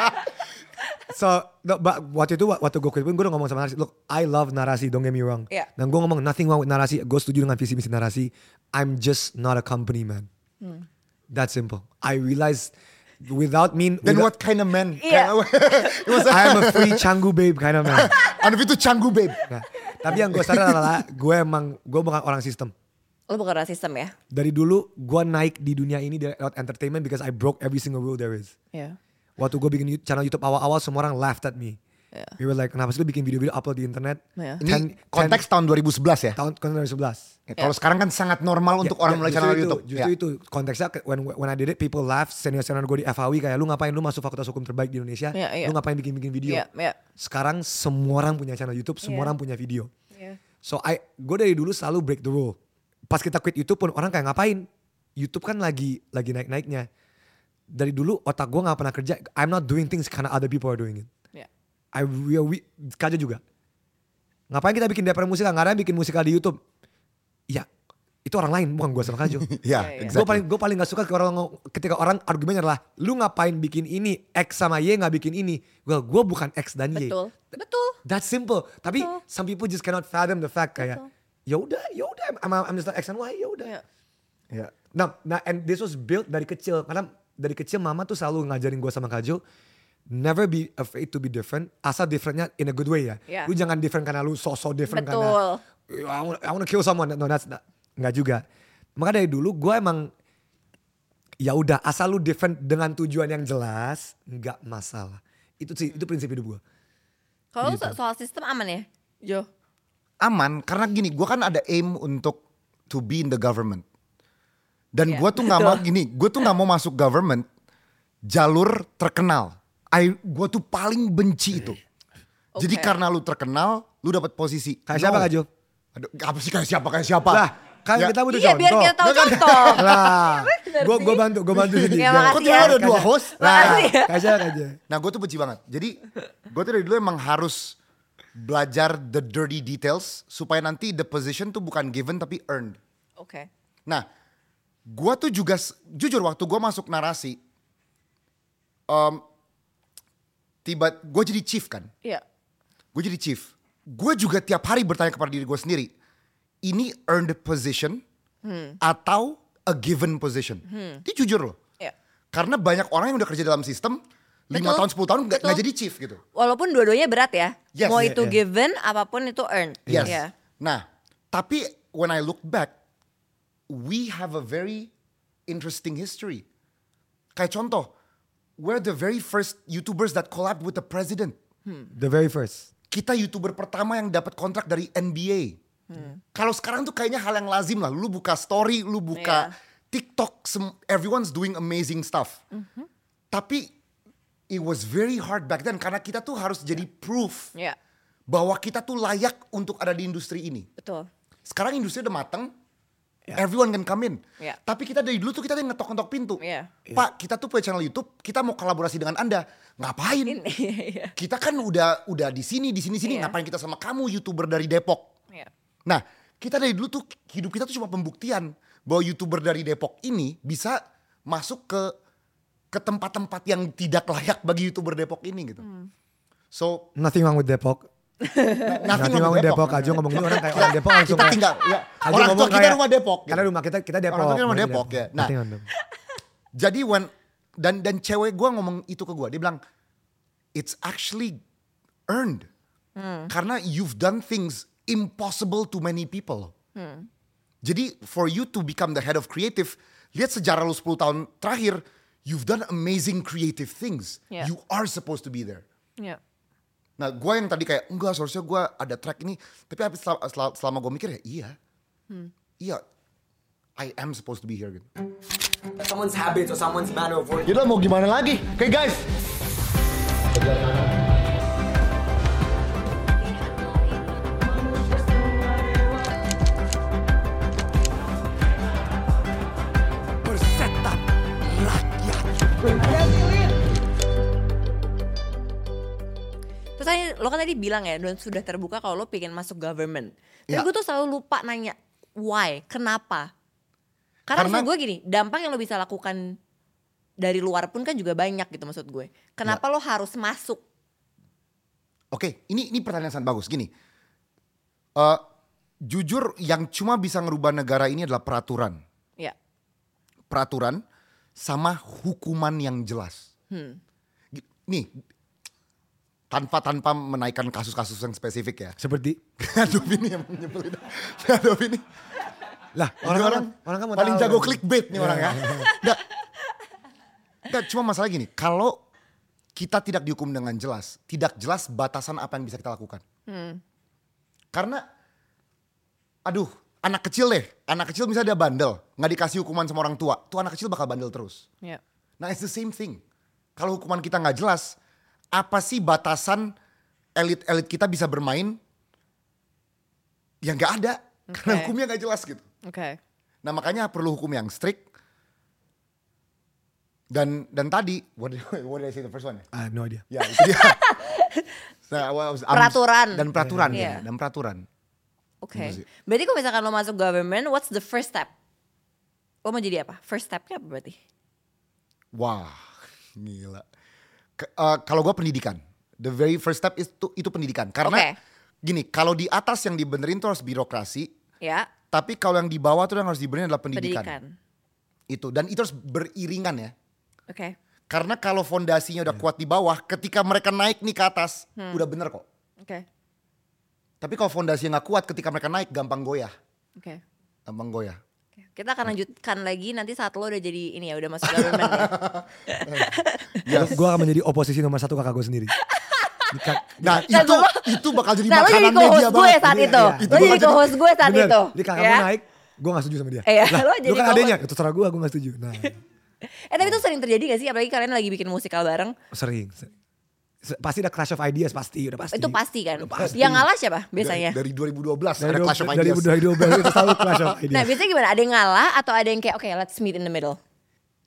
Speaker 3: so no, but waktu itu waktu gue quit pun gue udah ngomong sama narasi. Look, I love narasi. Don't get me wrong.
Speaker 4: Iya.
Speaker 3: Dan gue
Speaker 4: Hmm.
Speaker 3: ngomong nothing wrong with narasi. Gue setuju dengan visi misi narasi. I'm just not a company man. That simple. I realized without me,
Speaker 1: Then
Speaker 3: without-
Speaker 1: what kind of man?
Speaker 4: Iya.
Speaker 1: It was a-
Speaker 3: I am a free canggu babe kind of man.
Speaker 1: Anif itu canggu babe.
Speaker 3: Nah, tapi yang gue sadar adalah gue emang gue bukan orang sistem.
Speaker 4: Lo bukan orang sistem ya?
Speaker 3: Dari dulu gue naik di dunia ini dari- lewat entertainment because I broke every single rule there is.
Speaker 4: Iya.
Speaker 3: Waktu gue bikin you- channel YouTube awal-awal semua orang laughed at me. They were like, kenapa sih lu bikin video-video upload di internet?
Speaker 4: Iya.
Speaker 1: Ini
Speaker 3: Ten-
Speaker 1: konteks tahun 2011 ya.
Speaker 3: ten- tahun tahun 2011.
Speaker 1: Ya, Kalau sekarang kan sangat normal untuk
Speaker 3: Ya,
Speaker 1: orang
Speaker 3: ya,
Speaker 1: mulai
Speaker 3: justru
Speaker 1: channel
Speaker 3: itu,
Speaker 1: YouTube.
Speaker 3: Justru
Speaker 1: Ya.
Speaker 3: itu konteksnya ke- when when I did it people laugh senior senior gue di FAW kayak lu ngapain lu masuk fakultas hukum terbaik di Indonesia,
Speaker 4: Ya, ya.
Speaker 3: lu ngapain bikin bikin video.
Speaker 4: Iya, iya.
Speaker 3: Sekarang semua orang punya channel YouTube, semua
Speaker 4: Ya.
Speaker 3: orang punya video.
Speaker 4: Iya.
Speaker 3: So I gue dari dulu selalu break the rule. Pas kita quit YouTube pun orang kayak ngapain? YouTube kan lagi lagi naik naiknya. Dari dulu otak gue nggak pernah kerja. I'm not doing things karena other people are doing it.
Speaker 4: Iya.
Speaker 3: I we, we Kajo juga. Ngapain kita bikin DPR musikal? Nggak ada yang bikin musikal di YouTube. Iya, itu orang lain bukan gue sama Kajo.
Speaker 1: Ya,
Speaker 4: Iya, iya.
Speaker 1: exactly.
Speaker 3: Gue paling gue paling gak suka ke orang ketika orang argumennya adalah lu ngapain bikin ini X sama Y nggak bikin ini. Gue gue bukan X dan Y.
Speaker 4: Betul. Betul.
Speaker 3: That's simple. Tapi
Speaker 4: Betul.
Speaker 3: some people just cannot fathom the fact kayak
Speaker 4: Betul.
Speaker 3: ya udah ya udah I'm, I'm just like X and Y ya udah.
Speaker 4: Iya.
Speaker 1: Ya.
Speaker 3: Nah, nah, and this was built dari kecil karena dari kecil mama tuh selalu ngajarin gue sama Kajo never be afraid to be different asal differentnya in a good way ya.
Speaker 4: Iya.
Speaker 3: Lu jangan different karena lu so-so different kan ya?
Speaker 4: Betul.
Speaker 3: karena "Eh, I wanna, I wanna kill someone. No, that's not, nggak juga. Maka dari dulu gue emang ya udah asal lu different dengan tujuan yang jelas nggak masalah. Itu
Speaker 4: Hmm.
Speaker 3: sih itu prinsip hidup gue.
Speaker 4: Kalau so- soal sistem aman ya? Jo.
Speaker 1: Aman karena gini, gua kan ada aim untuk to be in the government. Dan
Speaker 4: Iya,
Speaker 1: gua tuh nggak
Speaker 4: betul.
Speaker 1: mau gini, gue tuh nggak mau masuk government jalur terkenal. I gue tuh paling benci itu. Jadi
Speaker 4: Oke.
Speaker 1: karena lu terkenal, lu dapat posisi.
Speaker 3: Kayak siapa, Kak Jo?
Speaker 1: Aduh, apa sih kayak siapa kayak siapa?
Speaker 3: Lah, kan
Speaker 1: Ya.
Speaker 3: kita butuh
Speaker 4: Iya,
Speaker 3: contoh.
Speaker 4: biar kita tahu contoh. iya,
Speaker 3: Lah,
Speaker 4: Benar
Speaker 3: Ah, gua
Speaker 4: sih.
Speaker 3: gua bantu, gua bantu sedikit.
Speaker 4: Ya,
Speaker 1: Kok
Speaker 4: makasih
Speaker 1: tiba
Speaker 4: ya.
Speaker 1: ada dua host?
Speaker 3: Lah,
Speaker 4: Makasih ya.
Speaker 3: kaca kaca.
Speaker 1: Nah gue tuh benci banget. Jadi gue tuh dari dulu emang harus belajar the dirty details supaya nanti the position tuh bukan given tapi earned.
Speaker 4: Oke.
Speaker 1: Nah gue tuh juga s- jujur waktu gue masuk narasi, em, tiba gue jadi chief kan,
Speaker 4: Iya.
Speaker 1: gue jadi chief. Gue juga tiap hari bertanya kepada diri gue sendiri, ini earned position
Speaker 4: Hmm.
Speaker 1: atau a given position? Itu jujur loh.
Speaker 4: Iya.
Speaker 1: Karena banyak orang yang udah kerja dalam sistem, 5
Speaker 4: Betul.
Speaker 1: tahun 10 tahun nggak
Speaker 4: Betul.
Speaker 1: nggak jadi chief gitu.
Speaker 4: Walaupun dua-duanya berat ya.
Speaker 1: Yes.
Speaker 4: Mau
Speaker 1: Iya,
Speaker 4: itu
Speaker 3: iya.
Speaker 4: given apapun itu earned.
Speaker 1: Yes.
Speaker 4: Iya.
Speaker 1: Nah, tapi when I look back, we have a very interesting history. Kayak contoh, we're the very first YouTubers that collabed with the president.
Speaker 3: The very first.
Speaker 1: Kita YouTuber pertama yang dapat kontrak dari NBA. Kalau sekarang tuh kayaknya hal yang lazim lah. Lu buka story, lu buka
Speaker 4: Iya.
Speaker 1: TikTok, sem- everyone's doing amazing stuff. Tapi it was very hard back then karena kita tuh harus jadi proof
Speaker 4: Iya.
Speaker 1: bahwa kita tuh layak untuk ada di industri ini
Speaker 4: Betul.
Speaker 1: sekarang industri udah mateng, everyone can come in.
Speaker 4: Ya.
Speaker 1: Tapi kita dari dulu tuh kita yang ngetok-ngetok pintu.
Speaker 4: Ya.
Speaker 1: Pak, kita tuh punya channel YouTube, kita mau kolaborasi dengan Anda. Ngapain?
Speaker 4: Iya, iya.
Speaker 1: Kita kan udah udah di sini, di sini sini,
Speaker 4: Iya.
Speaker 1: ngapain kita sama kamu YouTuber dari Depok?
Speaker 4: Iya.
Speaker 1: Nah, kita dari dulu tuh hidup kita tuh cuma pembuktian bahwa YouTuber dari Depok ini bisa masuk ke ke tempat-tempat yang tidak layak bagi YouTuber Depok ini gitu.
Speaker 4: Hmm.
Speaker 1: So,
Speaker 3: Nothing wrong with Depok.
Speaker 1: na-
Speaker 3: Nothing wrong with Eh, Depok. Kajo ngomong gini orang kayak orang Depok langsung.
Speaker 1: kan? Kita
Speaker 3: kayak-
Speaker 1: tinggal ya.
Speaker 3: Kajo
Speaker 1: Orang tua
Speaker 3: ngomong
Speaker 1: kita
Speaker 3: kayak-
Speaker 1: rumah Depok. gitu.
Speaker 3: Karena rumah kita kita Depok.
Speaker 1: Orang tua kita rumah
Speaker 3: ngomongnya
Speaker 1: Depok, ya. Nah.
Speaker 3: Nothing wrong with Depok.
Speaker 1: Jadi when dan dan cewek gue ngomong itu ke gue, dia bilang it's actually earned karena you've done things impossible to many people. Jadi for you to become the head of creative, lihat sejarah lu 10 tahun terakhir, you've done amazing creative things.
Speaker 4: Yeah.
Speaker 1: You are supposed to be there.
Speaker 4: Iya.
Speaker 1: Nah gue yang tadi kayak enggak seharusnya gue ada track ini, tapi abis selama, selama, gue mikir ya iya, iya, I am supposed to be here gitu.
Speaker 5: someone's habits or someone's manner of working.
Speaker 1: Yaudah mau gimana lagi? Oke guys,
Speaker 4: Terus tadi lo kan tadi bilang ya dan sudah terbuka kalau lo pengen masuk government. Tapi
Speaker 1: Ya.
Speaker 4: gue tuh selalu lupa nanya why, kenapa? Karena,
Speaker 1: Karena-
Speaker 4: maksud gue gini, dampak yang lo bisa lakukan dari luar pun kan juga banyak gitu maksud gue. Kenapa lo harus masuk?
Speaker 1: Oke, ini ini pertanyaan sangat bagus. Gini, Eh jujur yang cuma bisa ngerubah negara ini adalah peraturan.
Speaker 4: Ya,
Speaker 1: Peraturan sama hukuman yang jelas. Gi- Nih, tanpa tanpa menaikkan kasus-kasus yang spesifik ya.
Speaker 3: Seperti
Speaker 1: Adobe ini yang menyebelin. Adobe ini.
Speaker 3: lah
Speaker 1: Ini
Speaker 3: orang orang, orang kan mau
Speaker 1: paling
Speaker 3: tahu. Iya.
Speaker 1: jago clickbait nih orang ya. Enggak. Enggak, cuma masalah gini, kalau kita tidak dihukum dengan jelas, tidak jelas batasan apa yang bisa kita lakukan. Karena aduh, anak kecil deh, anak kecil misalnya dia bandel, nggak dikasih hukuman sama orang tua, tuh anak kecil bakal bandel terus.
Speaker 4: Ya.
Speaker 1: Nah, it's the same thing. Kalau hukuman kita nggak jelas, apa sih batasan elit-elit kita bisa bermain yang nggak ada? Karena
Speaker 4: Oke.
Speaker 1: hukumnya nggak jelas gitu.
Speaker 4: Oke.
Speaker 1: Nah, makanya perlu hukum yang strict. Dan dan tadi, what did, what did I say the first one?
Speaker 3: Ah, no idea.
Speaker 1: Ya, itu dia. Nah, I was- I'm-
Speaker 4: Peraturan.
Speaker 1: Dan peraturan, ya,
Speaker 4: Iya.
Speaker 1: dan peraturan.
Speaker 4: Oke.
Speaker 1: Gitu sih.
Speaker 4: Berarti kalau misalkan lo masuk government, what's the first step? Lo mau jadi apa? First stepnya apa berarti?
Speaker 1: Wah, gila. Ke- eh, kalau gua pendidikan, the very first step itu itu pendidikan. Karena
Speaker 4: Oke.
Speaker 1: gini, kalau di atas yang dibenerin tuh harus birokrasi,
Speaker 4: Ya,
Speaker 1: tapi kalau yang di bawah tuh yang harus dibenerin adalah pendidikan.
Speaker 4: pendidikan.
Speaker 1: Itu dan itu harus beriringan ya.
Speaker 4: Oke.
Speaker 1: Karena kalau fondasinya
Speaker 3: Iya.
Speaker 1: udah kuat di bawah, ketika mereka naik nih ke atas,
Speaker 4: Hmm.
Speaker 1: udah bener kok.
Speaker 4: Oke.
Speaker 1: Tapi kalau fondasinya nggak kuat, ketika mereka naik gampang goyah,
Speaker 4: Oke.
Speaker 1: gampang goyah.
Speaker 4: Oke. Kita akan lanjutkan lagi nanti saat lo udah jadi ini ya, udah masuk government ya.
Speaker 1: Yes.
Speaker 3: Gue akan menjadi oposisi nomor satu kakak gue sendiri.
Speaker 1: Nah
Speaker 4: Dan
Speaker 1: itu
Speaker 4: lo-
Speaker 1: itu bakal jadi
Speaker 4: Nah, lo
Speaker 1: makanan
Speaker 4: jadi co-host
Speaker 1: media
Speaker 4: gue
Speaker 1: banget.
Speaker 4: saat
Speaker 3: Iya, iya.
Speaker 4: itu. Lo
Speaker 1: Itu
Speaker 4: jadi
Speaker 1: bakal jadi-
Speaker 4: co-host gue saat
Speaker 3: Bener,
Speaker 4: itu.
Speaker 3: Jadi kakak
Speaker 4: ya?
Speaker 3: gue naik, gue gak setuju sama dia.
Speaker 4: Iya,
Speaker 3: Lah,
Speaker 4: lo
Speaker 3: lu
Speaker 4: jadi
Speaker 3: kan
Speaker 4: co-host.
Speaker 3: adanya, itu terserah gue, gue gak setuju. Nah,
Speaker 4: Eh tapi itu sering terjadi gak sih? Apalagi kalian lagi bikin musikal bareng.
Speaker 3: sering. sering. Se- Pasti ada clash of ideas, pasti, udah pasti.
Speaker 4: Itu pasti kan.
Speaker 3: Udah pasti.
Speaker 4: Yang ngalah siapa
Speaker 1: Dari,
Speaker 4: biasanya?
Speaker 1: dari 2012
Speaker 3: Dari
Speaker 1: ada
Speaker 3: dua-
Speaker 1: Clash of
Speaker 3: Dari
Speaker 1: Ideas.
Speaker 3: 2012 itu selalu clash of
Speaker 4: Nah
Speaker 3: ideas.
Speaker 4: biasanya gimana? Ada yang ngalah atau ada yang kayak oke let's meet in the middle.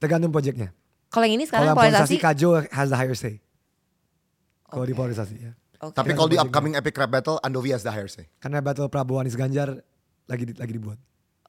Speaker 3: Tergantung projectnya.
Speaker 4: Kalau yang ini sekarang
Speaker 3: Kalau polarisasi,
Speaker 4: polarisasi.
Speaker 3: Kajo has the higher say. Kalau di polarisasi ya.
Speaker 4: Oke.
Speaker 1: Tapi kalau di upcoming epic rap battle, Andovi has the higher say.
Speaker 3: Karena battle Prabowo Anies Ganjar lagi di- lagi dibuat.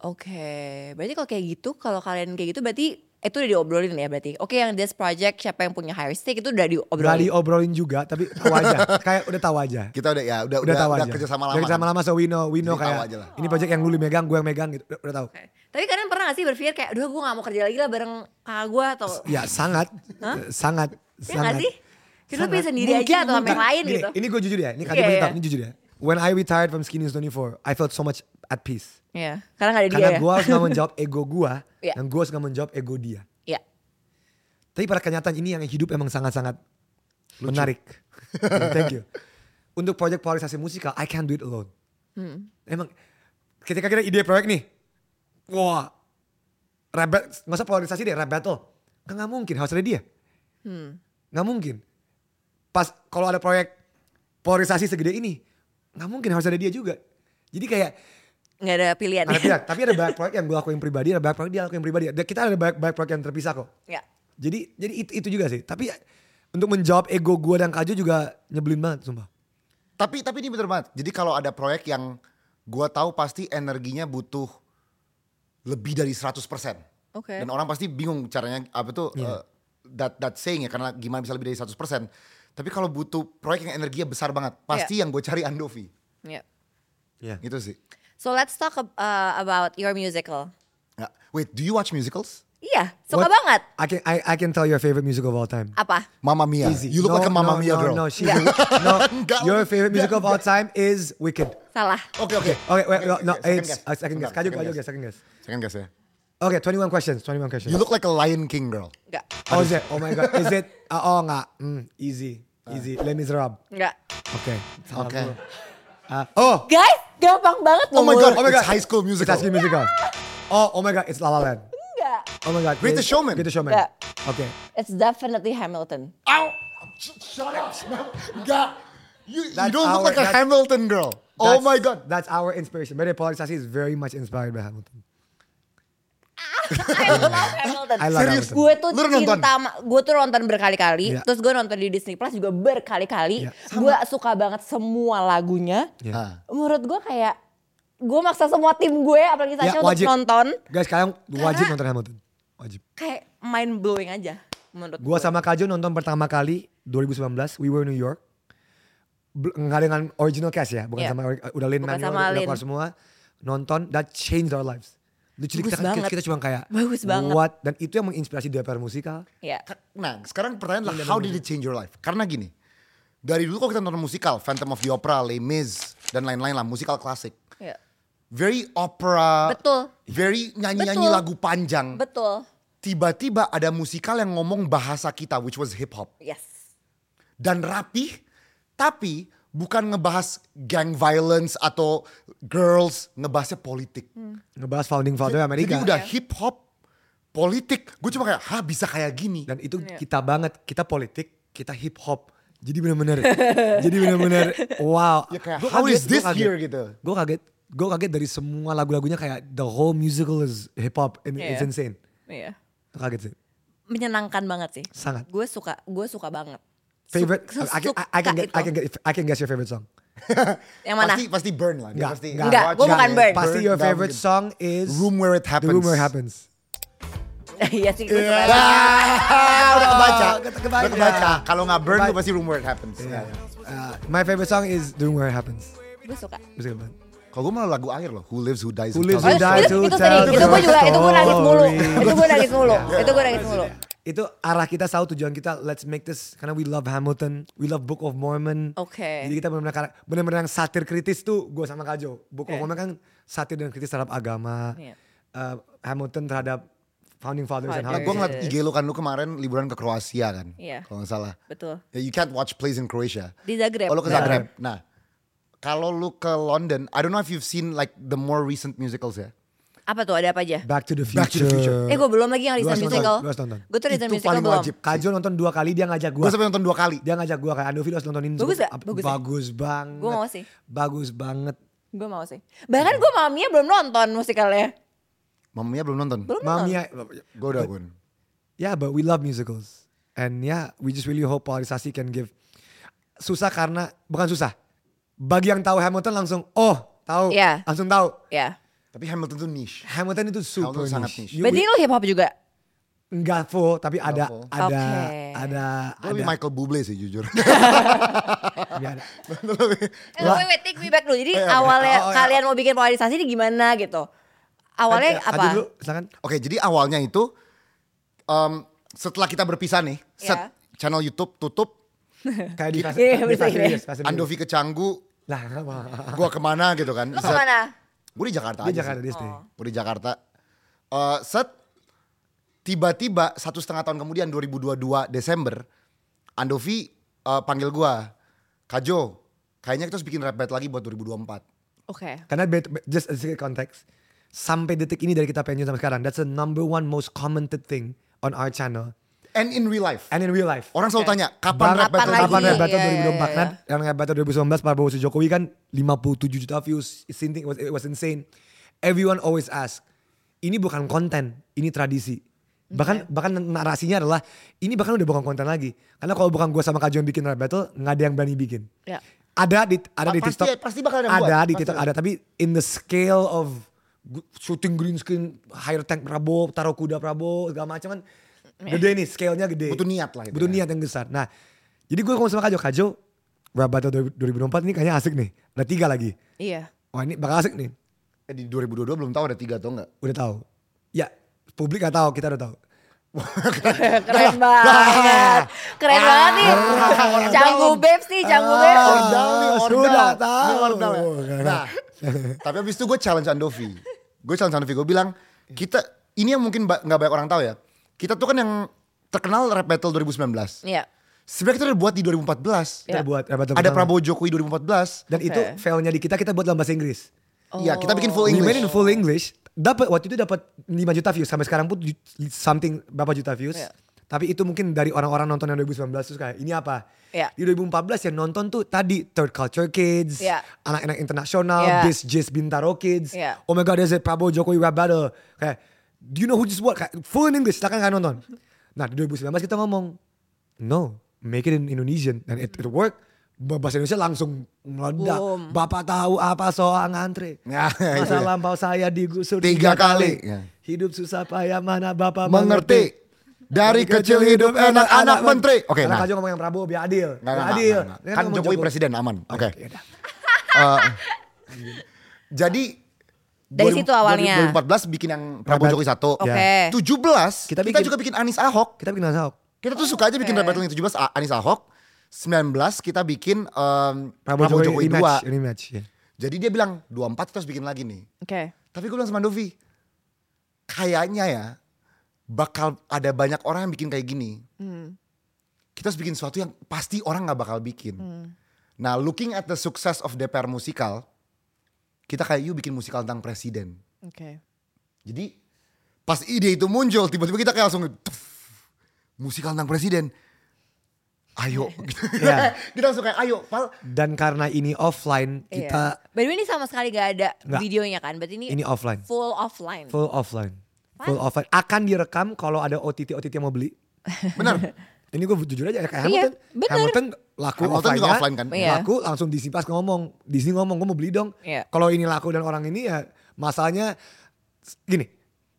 Speaker 4: Oke, berarti kalau kayak gitu, kalau kalian kayak gitu berarti itu udah diobrolin ya berarti. Oke, yang this project siapa yang punya higher stake itu udah
Speaker 3: Gak
Speaker 4: diobrolin.
Speaker 3: diobrolin juga, tapi tahu aja. Kayak udah tahu aja.
Speaker 1: Kita udah ya udah
Speaker 3: Udah,
Speaker 1: udah,
Speaker 3: tahu
Speaker 1: udah
Speaker 3: aja.
Speaker 1: kerjasama
Speaker 3: Udah
Speaker 1: lama.
Speaker 4: kan?
Speaker 3: kerjasama lama, so we know, we
Speaker 1: Jadi
Speaker 3: know
Speaker 1: tahu
Speaker 3: kayak
Speaker 1: aja lah.
Speaker 3: ini project yang lu lu megang, gue yang megang gitu. Udah, udah tahu.
Speaker 4: Oke. Tapi kalian pernah gak sih berpikir kayak, aduh gue gak mau kerja lagi lah bareng kakak gue atau
Speaker 3: Ya sangat, eh, sangat,
Speaker 4: ya gak
Speaker 3: sangat.
Speaker 4: sih? Jadi lu
Speaker 3: sangat.
Speaker 4: pilih sendiri
Speaker 3: Mungkin-
Speaker 4: aja atau sama yang
Speaker 3: mungkin-
Speaker 4: lain
Speaker 3: gini,
Speaker 4: gitu.
Speaker 3: Ini gue jujur ya, ini
Speaker 4: Iya,
Speaker 3: kata gue
Speaker 4: iya.
Speaker 3: tahu, ini jujur ya. When I retired from Skinny's 24, I felt so much at peace.
Speaker 4: Iya, karena gak ada dia
Speaker 3: Karena
Speaker 4: ya.
Speaker 3: gue harus gak menjawab ego gue,
Speaker 4: Iya.
Speaker 3: dan gue harus gak menjawab ego dia.
Speaker 4: Iya.
Speaker 3: Tapi pada kenyataan ini yang hidup emang sangat-sangat menarik. Hmm, Thank you. Untuk proyek polarisasi musikal, I can't do it alone. Emang ketika kita ide proyek nih, wah, rap bat- nggak usah polarisasi deh, rap battle. Kan nggak mungkin, harus ada dia. Nggak mungkin. Pas kalau ada proyek polarisasi segede ini, nggak mungkin harus ada dia juga. Jadi kayak
Speaker 4: Gak ada pilihan.
Speaker 3: ada pihak, tapi ada banyak proyek yang gue lakuin pribadi, ada banyak proyek dia lakuin pribadi. Dan Kita ada banyak, banyak proyek yang terpisah kok.
Speaker 4: Iya.
Speaker 3: Jadi jadi itu, itu juga sih. Tapi untuk menjawab ego gue dan Kajo juga nyebelin banget sumpah.
Speaker 1: Tapi tapi ini bener banget. Jadi kalau ada proyek yang gua tahu pasti energinya butuh lebih dari 100%.
Speaker 4: Oke.
Speaker 1: Dan orang pasti bingung caranya apa tuh uh,
Speaker 3: Iya.
Speaker 1: that that saying ya karena gimana bisa lebih dari 100%. Tapi kalau butuh proyek yang energinya besar banget, pasti yang gue cari Andovi.
Speaker 4: Iya.
Speaker 3: Iya.
Speaker 1: Gitu sih.
Speaker 4: So let's talk ab- uh, about your musical.
Speaker 1: Nah, wait, do you watch musicals?
Speaker 4: Iya,
Speaker 3: What-
Speaker 4: suka banget.
Speaker 3: I can I, I can tell your favorite musical of all time.
Speaker 4: Apa?
Speaker 1: Mama Mia. You look
Speaker 3: No,
Speaker 1: like a Mama
Speaker 3: no,
Speaker 1: Mia
Speaker 3: no,
Speaker 1: girl.
Speaker 3: No, she's a- no.
Speaker 1: Enggak.
Speaker 3: Your favorite musical of all
Speaker 1: Enggak,
Speaker 3: time is Wicked.
Speaker 4: Salah.
Speaker 1: Oke oke.
Speaker 3: Okay, wait,
Speaker 1: Oke, oke,
Speaker 3: no, no,
Speaker 1: second
Speaker 3: it's uh, second guess. Kajo,
Speaker 1: Second
Speaker 3: Kajo, guess, second guess.
Speaker 1: Second guess ya.
Speaker 3: Okay, 21 questions, 21 questions.
Speaker 1: You look like a Lion King girl.
Speaker 4: Enggak.
Speaker 3: oh, is it? Oh my god. Is it? Uh, oh enggak. Mm, easy.
Speaker 1: Uh.
Speaker 3: Easy. Les Miserables.
Speaker 4: Enggak.
Speaker 3: Okay.
Speaker 4: Ah,
Speaker 3: salah
Speaker 1: Oke.
Speaker 3: gua. Uh, oh,
Speaker 4: Guys, gampang banget
Speaker 1: Oh my
Speaker 4: loh.
Speaker 1: god,
Speaker 3: Oh my
Speaker 1: it's
Speaker 3: God.
Speaker 1: High School
Speaker 3: it's
Speaker 1: Musical.
Speaker 3: High School Musical. Oh, oh my god, it's La La Land.
Speaker 4: Enggak.
Speaker 3: Oh my god.
Speaker 1: Greatest
Speaker 3: it's-
Speaker 1: Showman.
Speaker 3: Greatest Showman.
Speaker 4: Enggak.
Speaker 3: Okay.
Speaker 4: It's definitely Hamilton.
Speaker 1: Ow! Sh- Shut up, smell. God. You, you
Speaker 3: That's
Speaker 1: don't look
Speaker 3: our-
Speaker 1: like a
Speaker 3: that's-
Speaker 1: Hamilton girl. Oh
Speaker 3: That's-
Speaker 1: my god.
Speaker 3: That's our inspiration. But Polarisasi is very much inspired by Hamilton.
Speaker 4: I love Hamilton.
Speaker 3: I love Serius? Hamilton.
Speaker 4: Gue tuh
Speaker 1: Lu udah
Speaker 4: cinta,
Speaker 1: nonton?
Speaker 4: ma- gue tuh nonton berkali-kali.
Speaker 3: Iya.
Speaker 4: Terus gue nonton di Disney Plus juga berkali-kali.
Speaker 3: Iya.
Speaker 4: Gue suka banget semua lagunya.
Speaker 3: Yeah.
Speaker 1: Ah.
Speaker 4: Menurut gue kayak gue maksa semua tim gue, apalagi Sasha
Speaker 3: Ya,
Speaker 4: untuk nonton.
Speaker 3: Guys, kalian wajib
Speaker 4: Karena-
Speaker 3: nonton Hamilton. Wajib.
Speaker 4: Kayak mind blowing aja menurut
Speaker 3: Gua
Speaker 4: gue.
Speaker 3: sama Kajo nonton pertama kali 2019, We Were New York. Bel- Nggak dengan original cast ya, bukan
Speaker 4: Iya.
Speaker 3: sama ori- udah Lin
Speaker 4: Bukan
Speaker 3: Manuel
Speaker 4: sama
Speaker 3: udah
Speaker 4: Lin.
Speaker 3: keluar semua. Nonton, that changed our lives. Lucu
Speaker 4: Bagus
Speaker 3: kita, kita-
Speaker 4: banget.
Speaker 3: kita cuma kayak
Speaker 4: Bagus banget.
Speaker 3: What? Dan itu yang menginspirasi DPR musikal.
Speaker 4: Ya.
Speaker 1: Nah, sekarang pertanyaan
Speaker 3: Iya,
Speaker 1: adalah how did it change your life? Karena gini, dari dulu kalau kita nonton musikal, Phantom of the Opera, Les Mis, dan lain-lain lah, musikal klasik.
Speaker 4: ya.
Speaker 1: Very opera,
Speaker 4: Betul.
Speaker 1: very nyanyi-nyanyi
Speaker 4: Betul.
Speaker 1: lagu panjang.
Speaker 4: Betul.
Speaker 1: Tiba-tiba ada musikal yang ngomong bahasa kita, which was hip hop.
Speaker 4: Yes.
Speaker 1: dan rapih, tapi bukan ngebahas gang violence atau girls, ngebahasnya politik.
Speaker 3: Ngebahas founding father Hmm. Amerika. Iya.
Speaker 1: Jadi udah hip hop, politik. Gue cuma kayak, ha bisa kayak gini.
Speaker 3: Dan itu
Speaker 4: Iya.
Speaker 3: kita banget. Kita politik, kita hip hop. Jadi bener-bener, jadi bener-bener wow.
Speaker 1: Ya kayak, how is this here gitu.
Speaker 3: Gue kaget, gue kaget dari semua lagu-lagunya kayak the whole musical is hip hop and it's
Speaker 4: Iya.
Speaker 3: insane.
Speaker 4: Iya.
Speaker 3: Gua Kaget sih,
Speaker 4: Menyenangkan banget sih.
Speaker 3: sangat.
Speaker 4: Gue suka, gue suka banget.
Speaker 3: Favorite, I, can,
Speaker 4: Su-
Speaker 3: I- I can
Speaker 4: suka gitu.
Speaker 3: get, I
Speaker 4: itu.
Speaker 3: can get, I can guess your favorite song.
Speaker 4: Yang mana?
Speaker 1: Pasti, pasti burn lah. Dia
Speaker 3: Nggak,
Speaker 1: pasti
Speaker 3: nggak.
Speaker 4: Nggak, gua bukan burn.
Speaker 3: Pasti your
Speaker 1: down
Speaker 3: favorite
Speaker 1: gitu.
Speaker 3: song is
Speaker 1: Room Where It
Speaker 3: The Room Where
Speaker 1: Happens.
Speaker 3: It Happens.
Speaker 4: Iya sih, gue suka.
Speaker 1: Ah, udah kebaca.
Speaker 3: Kebaca.
Speaker 1: Udah kebaca. Kalau nggak burn,
Speaker 3: Kebaca.
Speaker 1: tuh pasti room where it happens. Ya, ya.
Speaker 3: Uh, my favorite song is The Room Where It Happens.
Speaker 4: Gue suka.
Speaker 3: Music banget.
Speaker 1: Kalau gue malah lagu air loh. Who lives, who dies,
Speaker 3: Who Lives, Who
Speaker 4: Oh,
Speaker 3: Die
Speaker 4: itu,
Speaker 3: to
Speaker 4: itu
Speaker 3: Tell
Speaker 4: sedih.
Speaker 3: the
Speaker 4: Itu gue juga, itu gue nangis mulu.
Speaker 3: Story.
Speaker 4: Itu gue nangis mulu. Itu gue nangis mulu.
Speaker 3: Itu arah kita tahu tujuan kita. Let's make this karena we love Hamilton, we love Book of Mormon. Jadi
Speaker 4: Oke.
Speaker 3: kita benar-benar benar-benar yang satir kritis tuh gue sama Kajo. Book of
Speaker 4: Oke.
Speaker 3: Mormon kan satir dan kritis terhadap agama.
Speaker 4: Iya.
Speaker 3: Uh, Hamilton terhadap founding fathers and
Speaker 1: Nah,
Speaker 3: how
Speaker 4: Fathers.
Speaker 1: gue ngeliat
Speaker 4: Yes.
Speaker 1: IG lu kan, lu kemarin liburan ke Kroasia kan.
Speaker 4: Iya.
Speaker 1: Kalau nggak salah.
Speaker 4: Betul.
Speaker 1: Ya, You can't watch plays in Croatia.
Speaker 4: Di Zagreb.
Speaker 1: Kalau ke
Speaker 3: Nah.
Speaker 1: Zagreb. Nah, kalau lu ke London, I don't know if you've seen like the more recent musicals ya.
Speaker 4: Apa tuh, ada apa aja?
Speaker 3: Back to the Future.
Speaker 1: Back to the Future.
Speaker 4: Eh, gue belum lagi yang
Speaker 3: Lu
Speaker 4: Reason
Speaker 3: harus nonton,
Speaker 4: Musical.
Speaker 3: lu harus nonton.
Speaker 4: Gue tuh Reason
Speaker 1: Itu
Speaker 4: Musical
Speaker 1: paling
Speaker 4: belum.
Speaker 1: wajib.
Speaker 3: Kajo nonton dua kali dia ngajak
Speaker 1: Gue
Speaker 3: gue.
Speaker 1: sampai nonton dua kali.
Speaker 3: Dia ngajak gue kayak Andovi lu harus nontonin.
Speaker 4: Bagus
Speaker 3: semua.
Speaker 4: nggak? Bagus
Speaker 3: Bagus
Speaker 4: ya?
Speaker 3: banget.
Speaker 4: Gua mau sih.
Speaker 3: Bagus banget.
Speaker 4: Gue mau sih. Bahkan gue mamanya belum nonton musikalnya.
Speaker 1: Mamanya belum nonton.
Speaker 4: Belum nonton.
Speaker 3: Mami, ya,
Speaker 1: Gue udah gue.
Speaker 3: Yeah, but we love musicals. And yeah, we just really hope polarisasi can give. Susah karena bukan susah. Bagi yang tahu Hamilton langsung oh, tahu.
Speaker 4: Yeah.
Speaker 3: Langsung tahu.
Speaker 4: Ya.
Speaker 1: Tapi Hamilton tuh niche.
Speaker 3: Hamilton itu super
Speaker 1: Hamilton sangat niche.
Speaker 3: niche. You-
Speaker 4: Berarti lo hip hop juga?
Speaker 3: enggak full tapi ada
Speaker 1: full.
Speaker 3: ada
Speaker 4: Oke.
Speaker 3: ada
Speaker 1: Gue lebih
Speaker 3: ada-
Speaker 1: Michael Bublé sih jujur.
Speaker 3: enggak ada.
Speaker 4: Eh, wait, wait, take me back dulu. Jadi
Speaker 3: Oh,
Speaker 4: awalnya
Speaker 3: oh, ya.
Speaker 4: kalian mau bikin polarisasi ini gimana gitu? Awalnya
Speaker 3: Kajo
Speaker 4: apa?
Speaker 3: Eh, dulu, silakan.
Speaker 1: Oke, jadi awalnya itu em, setelah kita berpisah nih, set
Speaker 4: Iya.
Speaker 1: channel YouTube tutup,
Speaker 3: Kayak di fast,
Speaker 4: Iya,
Speaker 3: di Fast
Speaker 4: bisa
Speaker 3: and
Speaker 4: gini.
Speaker 3: Furious, Fast and Furious.
Speaker 1: Andovi ke Canggu,
Speaker 3: Lah, kenapa?
Speaker 1: gue kemana gitu kan.
Speaker 4: Lo kemana?
Speaker 1: Gue di Jakarta
Speaker 3: Dia
Speaker 1: aja
Speaker 3: Jakarta
Speaker 1: sih.
Speaker 3: dia stay.
Speaker 4: Oh.
Speaker 1: Gue di Jakarta. Eh, set tiba-tiba satu setengah tahun kemudian 2022 Desember Andovi eh, panggil gua Kajo kayaknya kita harus bikin rap battle lagi buat 2024
Speaker 4: Oke.
Speaker 3: Karena bet- bet- just a secret context. Sampai detik ini dari kita pensiun sampai sekarang, that's the number one most commented thing on our channel
Speaker 1: and in real life
Speaker 3: and in real life.
Speaker 1: orang selalu
Speaker 4: Oke.
Speaker 1: tanya kapan rap
Speaker 4: Kapan
Speaker 1: battle
Speaker 4: lagi?
Speaker 3: Kapan rap battle
Speaker 4: Iya, iya,
Speaker 3: 2024
Speaker 4: iya.
Speaker 3: kan? Yang rap battle 2019 Prabowo Jokowi kan 57 juta views. It's insane, It was, it was insane. Everyone always ask. Ini bukan konten, ini tradisi.
Speaker 4: Iya.
Speaker 3: Bahkan bahkan narasinya adalah ini bahkan udah bukan konten lagi. Karena kalau bukan gua sama Kajo yang bikin rap battle, nggak ada yang berani bikin.
Speaker 4: Ya.
Speaker 3: Ada di ada di
Speaker 1: Pasti-
Speaker 3: TikTok.
Speaker 1: pasti bakal ada yang
Speaker 3: Ada
Speaker 1: buat,
Speaker 3: di
Speaker 1: pasti
Speaker 3: TikTok
Speaker 1: ada.
Speaker 3: ada tapi in the scale of gu- shooting green screen, higher tank Prabowo, taruh kuda Prabowo, segala macam kan gede nih, scale-nya gede.
Speaker 1: Butuh niat lah itu
Speaker 3: Butuh
Speaker 1: ya.
Speaker 3: niat yang besar. Nah, jadi gue ngomong sama Kajo, Kajo, Rap Battle 2024 ini kayaknya asik nih. Ada tiga lagi.
Speaker 4: Iya.
Speaker 3: Wah ini bakal asik nih.
Speaker 1: Eh, di 2022 belum tahu ada tiga atau enggak
Speaker 3: Udah tahu. Ya, publik gak tahu, kita udah tahu.
Speaker 4: Keren banget. Keren
Speaker 3: Ah.
Speaker 4: banget nih. Canggu babes nih, canggu babes.
Speaker 1: Ordal nih,
Speaker 3: Ah,
Speaker 1: ordal.
Speaker 3: sudah
Speaker 1: Ini
Speaker 3: tahu.
Speaker 1: ordal ya.
Speaker 4: Oh,
Speaker 1: Nah, tapi abis itu gue challenge Andovi. Gue challenge Andovi, gue bilang, kita, ini yang mungkin ba- nggak banyak orang tahu ya. Kita tuh kan yang terkenal rap battle 2019.
Speaker 3: Ya.
Speaker 4: Iya.
Speaker 1: Sebenarnya kita udah buat di 2014.
Speaker 3: Kita
Speaker 4: Ya.
Speaker 3: buat Rap Battle
Speaker 1: Iya. Ada Prabowo
Speaker 3: pertama.
Speaker 1: Jokowi 2014.
Speaker 3: Dan itu fail-nya di kita, kita buat dalam bahasa Inggris.
Speaker 4: Oh.
Speaker 1: Iya, kita bikin full
Speaker 3: We made
Speaker 1: English.
Speaker 3: in full English. Dapat waktu itu dapat 5 juta views sampai sekarang pun ju- something berapa juta views.
Speaker 4: Iya.
Speaker 3: Tapi itu mungkin dari orang-orang nonton yang 2019 terus kayak ini apa?
Speaker 4: Iya.
Speaker 3: Di 2014 yang nonton tuh tadi third culture kids,
Speaker 4: Iya.
Speaker 3: anak-anak internasional,
Speaker 4: Iya.
Speaker 3: bis jis bintaro kids.
Speaker 4: Iya.
Speaker 3: Oh my god, there's a Prabowo Jokowi rap battle. Kayak do you know who just what? Kayak, full in English, silakan kalian nonton. Nah, di 2019 kita ngomong no, make it in Indonesian and it, it work. Bahasa Indonesia langsung meledak.
Speaker 4: Boom.
Speaker 3: Bapak tahu apa soal ngantre.
Speaker 1: Ya, itu
Speaker 3: Masa
Speaker 1: ya.
Speaker 3: lampau saya digusur
Speaker 1: Tiga kali. Ya.
Speaker 3: Hidup susah payah mana bapak
Speaker 1: Mengerti. Dari kecil hidup enak anak menteri. Oke,
Speaker 3: Karena
Speaker 1: nah.
Speaker 3: Kajo ngomong yang Prabowo biar
Speaker 1: Nggak,
Speaker 3: adil. Biar
Speaker 1: nggak, nggak,
Speaker 3: adil.
Speaker 1: nggak, nggak.
Speaker 3: Dia
Speaker 1: Kan
Speaker 3: ngomong
Speaker 1: Jokowi
Speaker 3: Jokowi.
Speaker 1: presiden aman. Oke.
Speaker 3: yaudah.
Speaker 1: Jadi
Speaker 4: Dari situ awalnya.
Speaker 1: 2014 bikin yang Prabowo Jokowi satu.
Speaker 4: Oke.
Speaker 3: Ya.
Speaker 1: 17 kita,
Speaker 3: Kita bikin-
Speaker 1: juga bikin Anies Ahok.
Speaker 3: Kita bikin Ahok.
Speaker 1: Kita tuh suka aja bikin rebattle yang 17 A- Anies Ahok. 19 kita bikin em,
Speaker 3: Prabowo,
Speaker 1: Prabowo Jokowi,
Speaker 3: Jokowi, rematch,
Speaker 1: 2.
Speaker 3: rematch. ya.
Speaker 1: Jadi dia bilang 24 kita harus bikin lagi nih.
Speaker 4: Oke.
Speaker 1: Tapi gue bilang sama Dovi, kayaknya ya bakal ada banyak orang yang bikin kayak gini. Kita harus bikin sesuatu yang pasti orang nggak bakal bikin. Nah, looking at the success of DPR musikal, kita kayak yuk bikin musikal tentang presiden.
Speaker 4: Oke.
Speaker 1: Jadi pas ide itu muncul, tiba-tiba kita kayak langsung "Tuff, musikal tentang presiden. Ayo, Gitu.
Speaker 3: Iya.
Speaker 1: kita langsung kayak ayo, Pal.
Speaker 3: Dan karena ini offline,
Speaker 4: Iya.
Speaker 3: kita
Speaker 4: By the way ini sama sekali gak ada
Speaker 3: Nggak.
Speaker 4: videonya kan? Berarti ini,
Speaker 3: ini offline.
Speaker 4: full offline.
Speaker 3: Full offline. Full offline. Akan direkam kalau ada OTT-OTT yang mau beli.
Speaker 1: Benar.
Speaker 3: Ini gue jujur aja kayak
Speaker 4: Iya,
Speaker 3: Hamilton.
Speaker 4: bener.
Speaker 3: Hamilton laku
Speaker 1: Hamilton juga
Speaker 3: offline-nya,
Speaker 1: offline kan?
Speaker 4: Iya.
Speaker 3: Laku langsung Disney pas ngomong. Disney ngomong gue mau beli dong.
Speaker 4: Iya.
Speaker 3: Kalau ini laku dan orang ini ya masalahnya s- gini.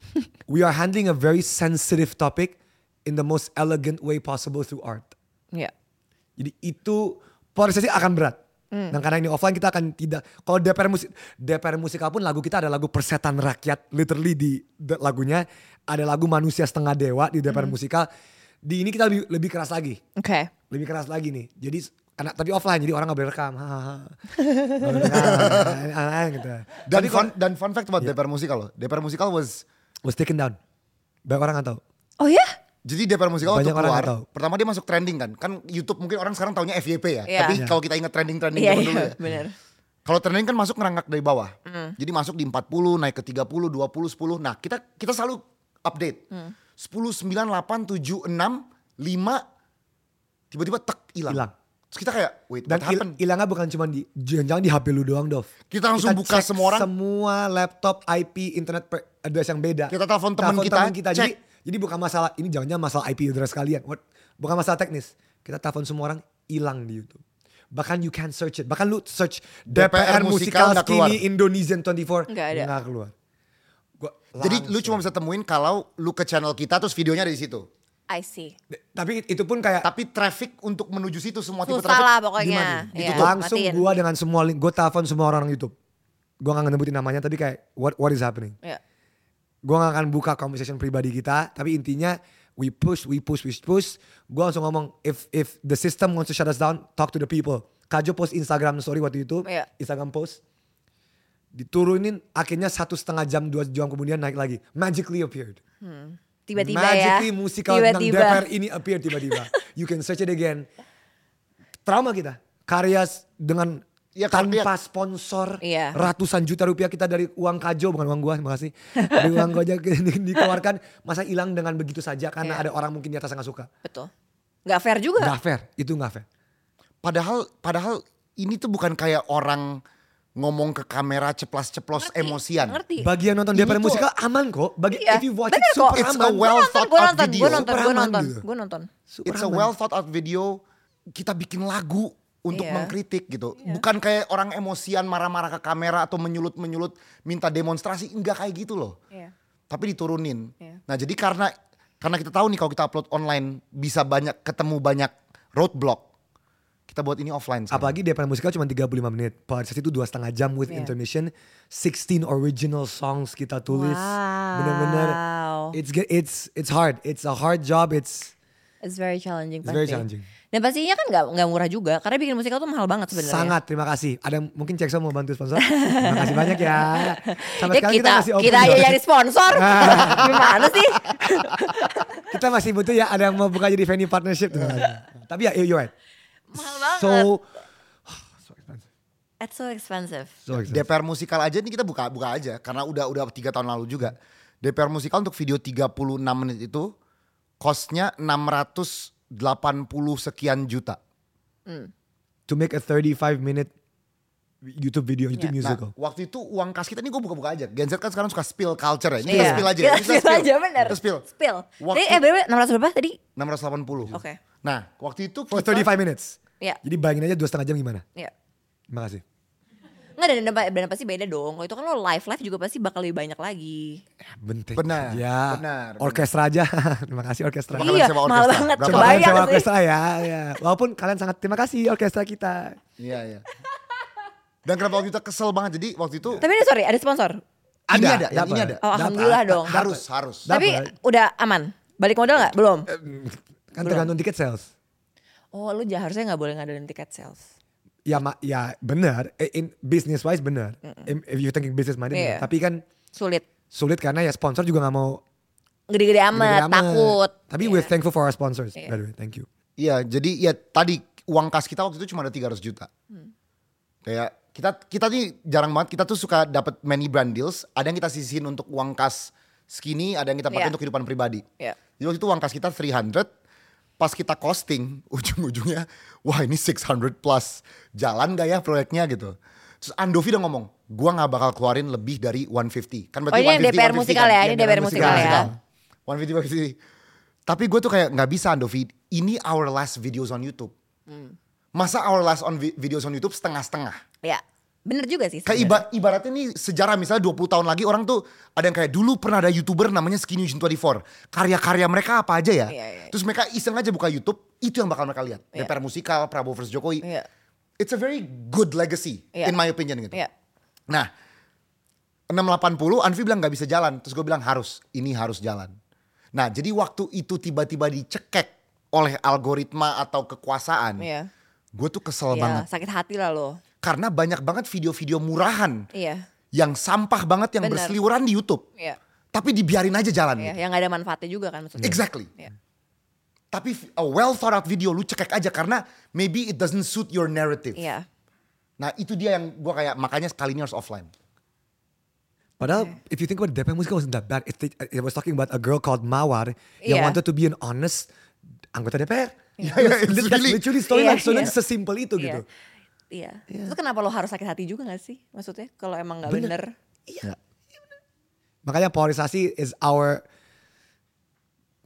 Speaker 3: we are handling a very sensitive topic in the most elegant way possible through art.
Speaker 4: Iya.
Speaker 3: Jadi itu prosesnya akan berat.
Speaker 4: Hmm.
Speaker 3: Dan karena ini offline kita akan tidak kalau DPR musik DPR musikal pun lagu kita ada lagu persetan rakyat literally di, di lagunya ada lagu manusia setengah dewa di
Speaker 4: Hmm.
Speaker 3: DPR musikal. Di ini kita lebih lebih keras lagi.
Speaker 4: Oke.
Speaker 3: Lebih keras lagi nih. Jadi karena tapi offline jadi orang nggak boleh rekam. Hahaha. Nggak boleh rekam, aneh-aneh gitu.
Speaker 1: Dan
Speaker 3: Tapi
Speaker 1: fun, dan fun fact about DPR musikal loh. DPR musikal was
Speaker 3: was taken down. Banyak orang nggak tahu.
Speaker 4: Oh ya?
Speaker 1: Jadi DPR musikal waktu
Speaker 3: Banyak orang
Speaker 1: keluar,
Speaker 3: nggak tahu.
Speaker 1: pertama dia masuk trending kan. Kan YouTube mungkin orang sekarang taunya FYP ya.
Speaker 4: Iya.
Speaker 1: Tapi
Speaker 4: Iya.
Speaker 1: kalau kita ingat trending-trending
Speaker 4: Iya,
Speaker 1: zaman
Speaker 4: iya, Mm.
Speaker 1: dulu ya.
Speaker 4: benar.
Speaker 1: Kalau trending kan masuk ngerangkak dari bawah. Jadi masuk di 40, naik ke 30, 20, 10. Nah, kita kita selalu update.
Speaker 4: Mm.
Speaker 1: 10, 9, 8, 7, 6, 5 tiba-tiba tek hilang.
Speaker 3: Hilang.
Speaker 1: Terus kita kayak wait,
Speaker 3: Dan
Speaker 1: what happened?
Speaker 3: il- hilangnya bukan cuma di jangan di HP lu doang, Dov.
Speaker 1: Kita langsung buka
Speaker 3: cek
Speaker 1: semua orang.
Speaker 3: Semua laptop, IP, internet per- address yang beda.
Speaker 1: Kita telepon teman
Speaker 3: Telepon
Speaker 1: kita, cek.
Speaker 3: Jadi, jadi bukan masalah ini jangan-jangan masalah IP address kalian. What? Bukan masalah teknis. Kita telepon semua orang hilang di YouTube. Bahkan you can search it. Bahkan lu search
Speaker 1: DPR
Speaker 3: DPR, Musikal
Speaker 1: Musikal nggak keluar.
Speaker 3: Skinny Indonesian 24.
Speaker 4: Nggak ada.
Speaker 3: Nggak keluar. Gua
Speaker 1: Jadi lu
Speaker 3: langsung.
Speaker 1: cuma bisa temuin kalau lu ke channel kita terus videonya ada di situ.
Speaker 4: I see.
Speaker 3: Tapi itu pun kayak
Speaker 1: Tapi traffic untuk menuju situ semua tipe
Speaker 4: Susah
Speaker 1: traffic
Speaker 4: lah
Speaker 1: dimatiin.
Speaker 4: pokoknya. Iya,
Speaker 3: ya? langsung
Speaker 4: matiin.
Speaker 3: gua dengan semua link gua telepon semua orang YouTube gua nggak nyebutin namanya tapi kayak what what is happening
Speaker 4: Iya.
Speaker 3: gua nggak akan buka conversation pribadi kita tapi intinya we push we push we push gua langsung ngomong if if the system wants to shut us down talk to the people Kajo post Instagram story waktu itu
Speaker 4: Iya.
Speaker 3: Instagram post diturunin akhirnya satu setengah jam dua jam kemudian naik lagi magically appeared
Speaker 4: Tiba-tiba ya.
Speaker 3: magically musikal tentang DPR ini appear tiba-tiba you can search it again trauma kita karya s- dengan
Speaker 1: Iya,
Speaker 3: tanpa
Speaker 1: karya.
Speaker 3: sponsor
Speaker 4: Iya.
Speaker 3: ratusan juta rupiah kita dari uang kajo bukan uang gua makasih dari uang gua aja di- dikeluarkan masa hilang dengan begitu saja karena
Speaker 4: Iya.
Speaker 3: ada orang mungkin di atas yang nggak suka
Speaker 4: Betul. Gak fair juga.
Speaker 3: nggak fair itu nggak fair
Speaker 1: Padahal padahal ini tuh bukan kayak orang ngomong ke kamera ceplas-ceplos
Speaker 4: Ngerti,
Speaker 1: emosian.
Speaker 4: Ngerti.
Speaker 3: bagi yang nonton
Speaker 1: Ini
Speaker 3: DPR
Speaker 1: tuh-
Speaker 3: musikal aman kok bagi if
Speaker 4: Iya,
Speaker 3: you watch
Speaker 4: bener
Speaker 3: it super
Speaker 4: kok.
Speaker 1: Iya, It's a
Speaker 3: aman
Speaker 1: well
Speaker 4: Gua
Speaker 1: thought
Speaker 4: nonton, gue
Speaker 1: out
Speaker 4: nonton,
Speaker 1: video.
Speaker 4: gue nonton, gue
Speaker 3: Superaman
Speaker 4: nonton,
Speaker 3: gitu.
Speaker 4: gue nonton.
Speaker 3: Super
Speaker 1: It's a
Speaker 3: aman.
Speaker 1: well thought out video. Kita bikin lagu untuk
Speaker 4: Iya.
Speaker 1: mengkritik gitu. Bukan kayak orang emosian marah-marah ke kamera atau menyulut-menyulut minta demonstrasi enggak kayak gitu loh.
Speaker 4: Iya.
Speaker 1: Tapi diturunin.
Speaker 4: Iya.
Speaker 1: Nah, jadi karena karena kita tahu nih kalau kita upload online bisa banyak ketemu banyak roadblock. Kita buat ini offline sekarang.
Speaker 3: Apalagi DPR musikal cuma 35 menit. Podcast itu dua setengah jam with
Speaker 4: Iya.
Speaker 3: intermission. 16 original songs kita tulis.
Speaker 4: Wow.
Speaker 3: Bener-bener. It's ge- it's it's hard. It's a hard job. It's
Speaker 4: It's very challenging
Speaker 3: It's
Speaker 4: pasti.
Speaker 3: very challenging.
Speaker 4: Dan pastinya kan gak, nggak murah juga. Karena bikin musikal tuh mahal banget sebenarnya.
Speaker 3: sangat terima kasih. Ada mungkin Cekso mau bantu sponsor? terima kasih banyak ya. Sampai
Speaker 4: Ya
Speaker 3: sekarang kita,
Speaker 4: kita,
Speaker 3: masih
Speaker 4: kita,
Speaker 3: open.
Speaker 4: aja
Speaker 3: loh.
Speaker 4: jadi sponsor. Gimana sih?
Speaker 3: kita masih butuh ya ada yang mau buka jadi venue partnership. Terima kasih. Tapi ya you're right.
Speaker 4: Mahal banget.
Speaker 3: So
Speaker 4: It's so expensive.
Speaker 3: so expensive.
Speaker 1: DPR musikal aja ini kita buka buka aja karena udah udah tiga tahun lalu juga. DPR musikal untuk video 36 menit itu costnya 680 sekian juta.
Speaker 3: to make a 35 minute YouTube video, YouTube
Speaker 4: Yeah.
Speaker 1: Nah,
Speaker 3: musical.
Speaker 1: waktu itu uang kas kita ini gue buka-buka aja. Gen Z kan sekarang suka spill culture ya. Ini
Speaker 4: Iya.
Speaker 1: kita spill aja.
Speaker 4: Kita
Speaker 1: Ini
Speaker 4: spill aja bener.
Speaker 1: Kita spill.
Speaker 4: Spill.
Speaker 1: Waktu
Speaker 4: Tadi eh berapa? 600 berapa tadi?
Speaker 1: 680.
Speaker 4: Oke.
Speaker 1: Nah, waktu itu
Speaker 3: For 35 minutes.
Speaker 4: Iya.
Speaker 3: Jadi bayangin aja dua setengah jam gimana.
Speaker 4: Iya.
Speaker 3: Terima kasih.
Speaker 4: Nggak dan dan- dan pasti beda dong. Kalau itu kan lo live live juga pasti bakal lebih banyak lagi.
Speaker 3: Bentik.
Speaker 1: Benar,
Speaker 3: Ya.
Speaker 1: benar,
Speaker 3: Orkestra aja. terima kasih orkestra.
Speaker 1: Makanya
Speaker 4: iya,
Speaker 1: sewa
Speaker 4: mahal
Speaker 1: orkestra.
Speaker 4: banget.
Speaker 1: Berapa?
Speaker 3: Coba kalian
Speaker 4: Kebayang
Speaker 3: sewa
Speaker 4: sih.
Speaker 3: orkestra ya, ya. Walaupun kalian sangat terima kasih orkestra kita.
Speaker 1: Iya, iya. Dan kenapa waktu itu kesel banget. Jadi waktu itu
Speaker 4: Tapi ini sorry, ada sponsor.
Speaker 1: Ini
Speaker 3: Ada,
Speaker 1: ada, yang
Speaker 3: dapat.
Speaker 1: ini ada.
Speaker 4: Oh, alhamdulillah
Speaker 3: Dapat.
Speaker 4: dong.
Speaker 1: Nah, Harus, harus.
Speaker 4: Tapi
Speaker 3: Dapat.
Speaker 4: udah aman. Balik modal nggak? Belum.
Speaker 3: Kan tergantung tiket sales.
Speaker 4: Oh, lu ja- harusnya nggak boleh ngadain tiket sales.
Speaker 3: Ya ma- ya benar. Eh, In business wise benar. Im- If you thinking business minded. benar.
Speaker 4: Iya.
Speaker 3: Tapi kan
Speaker 4: Sulit.
Speaker 3: sulit karena ya sponsor juga nggak mau
Speaker 4: Gede-gede
Speaker 3: gede-gede
Speaker 4: amat,
Speaker 3: amat.
Speaker 4: takut.
Speaker 3: Tapi
Speaker 4: Iya.
Speaker 3: we're thankful for our sponsors.
Speaker 4: Iya.
Speaker 3: By the way, thank you.
Speaker 1: Iya, jadi ya tadi uang kas kita waktu itu cuma ada 300 juta. Kayak kita kita nih jarang banget kita tuh suka dapat many brand deals, ada yang kita sisihin untuk uang kas skinny, ada yang kita pakai
Speaker 4: Iya.
Speaker 1: untuk kehidupan pribadi.
Speaker 4: Iya.
Speaker 1: Jadi waktu itu uang kas kita 300 pas kita costing ujung-ujungnya wah ini 600 plus jalan gak ya proyeknya gitu terus Andovi udah ngomong gua nggak bakal keluarin lebih dari 150 kan berarti
Speaker 4: Oh, ini yang
Speaker 1: 150,
Speaker 4: DPR
Speaker 1: 150
Speaker 4: musikal ya,
Speaker 1: Iya,
Speaker 4: ini DPR musikal ya.
Speaker 1: One video sih. Tapi gue tuh kayak nggak bisa Andovi. Ini our last videos on YouTube.
Speaker 4: Hmm.
Speaker 1: Masa our last on vi- videos on YouTube setengah-setengah.
Speaker 4: Iya. Bener juga sih.
Speaker 1: Kayak iba- ibaratnya nih sejarah misalnya 20 tahun lagi orang tuh ada yang kayak dulu pernah ada youtuber namanya Skinny Jun 24. Karya-karya mereka apa aja ya.
Speaker 4: Iya, iya.
Speaker 1: Terus mereka iseng aja buka YouTube, itu yang bakal mereka lihat.
Speaker 4: Iya.
Speaker 1: DPR musikal, Prabowo versus Jokowi.
Speaker 4: Iya.
Speaker 1: It's a very good legacy
Speaker 4: Iya.
Speaker 1: in my opinion gitu.
Speaker 4: Iya.
Speaker 1: Nah, 680 Anfi bilang nggak bisa jalan, terus gue bilang harus, ini harus jalan. Nah, jadi waktu itu tiba-tiba dicekek oleh algoritma atau kekuasaan,
Speaker 4: Iya.
Speaker 1: gue tuh kesel
Speaker 4: Iya,
Speaker 1: banget
Speaker 4: sakit hati lah lo.
Speaker 1: karena banyak banget video-video murahan
Speaker 4: Iya.
Speaker 1: yang sampah banget yang
Speaker 4: Bener.
Speaker 1: berseliweran di YouTube,
Speaker 4: Iya.
Speaker 1: tapi dibiarin aja jalan.
Speaker 4: Iya,
Speaker 1: gitu.
Speaker 4: yang gak ada manfaatnya juga kan maksudnya.
Speaker 1: Exactly.
Speaker 4: Iya.
Speaker 1: Tapi a well thought out video lu cekek aja karena maybe it doesn't suit your narrative.
Speaker 4: Iya.
Speaker 1: Nah itu dia yang gue kayak makanya sekali ini harus offline.
Speaker 3: Padahal if you think about it, DP Musical wasn't that bad. It, it was talking about a girl called Mawar yang
Speaker 4: Iya.
Speaker 3: wanted to be an honest anggota DPR.
Speaker 1: Yeah, yeah, it's
Speaker 3: That's
Speaker 1: really-
Speaker 3: literally storyline.
Speaker 4: Iya,
Speaker 3: so
Speaker 4: iya.
Speaker 3: it's sesimpel itu
Speaker 4: Iya.
Speaker 3: gitu.
Speaker 4: Iya. Itu kenapa lo harus sakit hati juga gak sih? Maksudnya kalau emang gak
Speaker 3: Bener.
Speaker 4: bener.
Speaker 3: Makanya polarisasi is our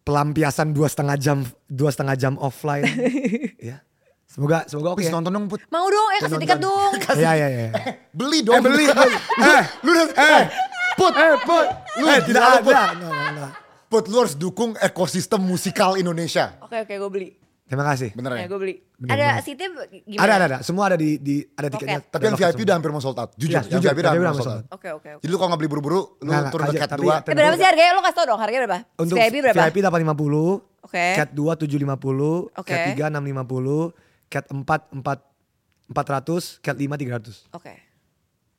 Speaker 3: pelampiasan dua setengah jam dua setengah jam offline. ya. Semoga semoga oke.
Speaker 1: Please
Speaker 3: ya.
Speaker 1: nonton dong put.
Speaker 4: Mau dong, eh kasih
Speaker 3: Nonton.
Speaker 4: tiket dong.
Speaker 3: Iya iya iya.
Speaker 1: Beli dong.
Speaker 3: Eh, beli, beli.
Speaker 1: eh, lu udah, eh, put,
Speaker 3: Eh put,
Speaker 1: Lu,
Speaker 3: eh
Speaker 1: tidak ada.
Speaker 3: tidak ada. No, no, no.
Speaker 1: put lu harus dukung ekosistem musikal Indonesia.
Speaker 4: Oke oke gue beli.
Speaker 3: Terima kasih.
Speaker 1: Bener ya?
Speaker 4: Ya gue beli.
Speaker 3: Bener,
Speaker 4: Ada
Speaker 3: bener.
Speaker 4: seatnya gimana?
Speaker 3: Ada ada ada. Semua ada di di ada tiketnya.
Speaker 4: Roket.
Speaker 1: Tapi yang VIP udah hampir mau sold out. Jujur,
Speaker 3: Iya,
Speaker 1: yang
Speaker 3: jujur,
Speaker 1: VIP udah
Speaker 3: tapi
Speaker 1: hampir
Speaker 3: udah
Speaker 1: mau sold
Speaker 3: sold
Speaker 1: out.
Speaker 4: Oke oke oke.
Speaker 1: Jadi lu kalau nggak beli buru-buru, lu
Speaker 3: Nggak, nggak,
Speaker 1: turun ke
Speaker 3: kajian,
Speaker 1: cat
Speaker 3: Nah, tapi-
Speaker 1: 2.
Speaker 4: Eh berapa sih harganya? Lo kasih tau dong harganya berapa?
Speaker 3: Untuk
Speaker 4: VIP berapa?
Speaker 3: VIP 850,
Speaker 4: Oke.
Speaker 3: Cat 2 750,
Speaker 4: Eh? Oke.
Speaker 3: Cat 3 650, Cat 4 4 400, Cat 5 300.
Speaker 4: Oke.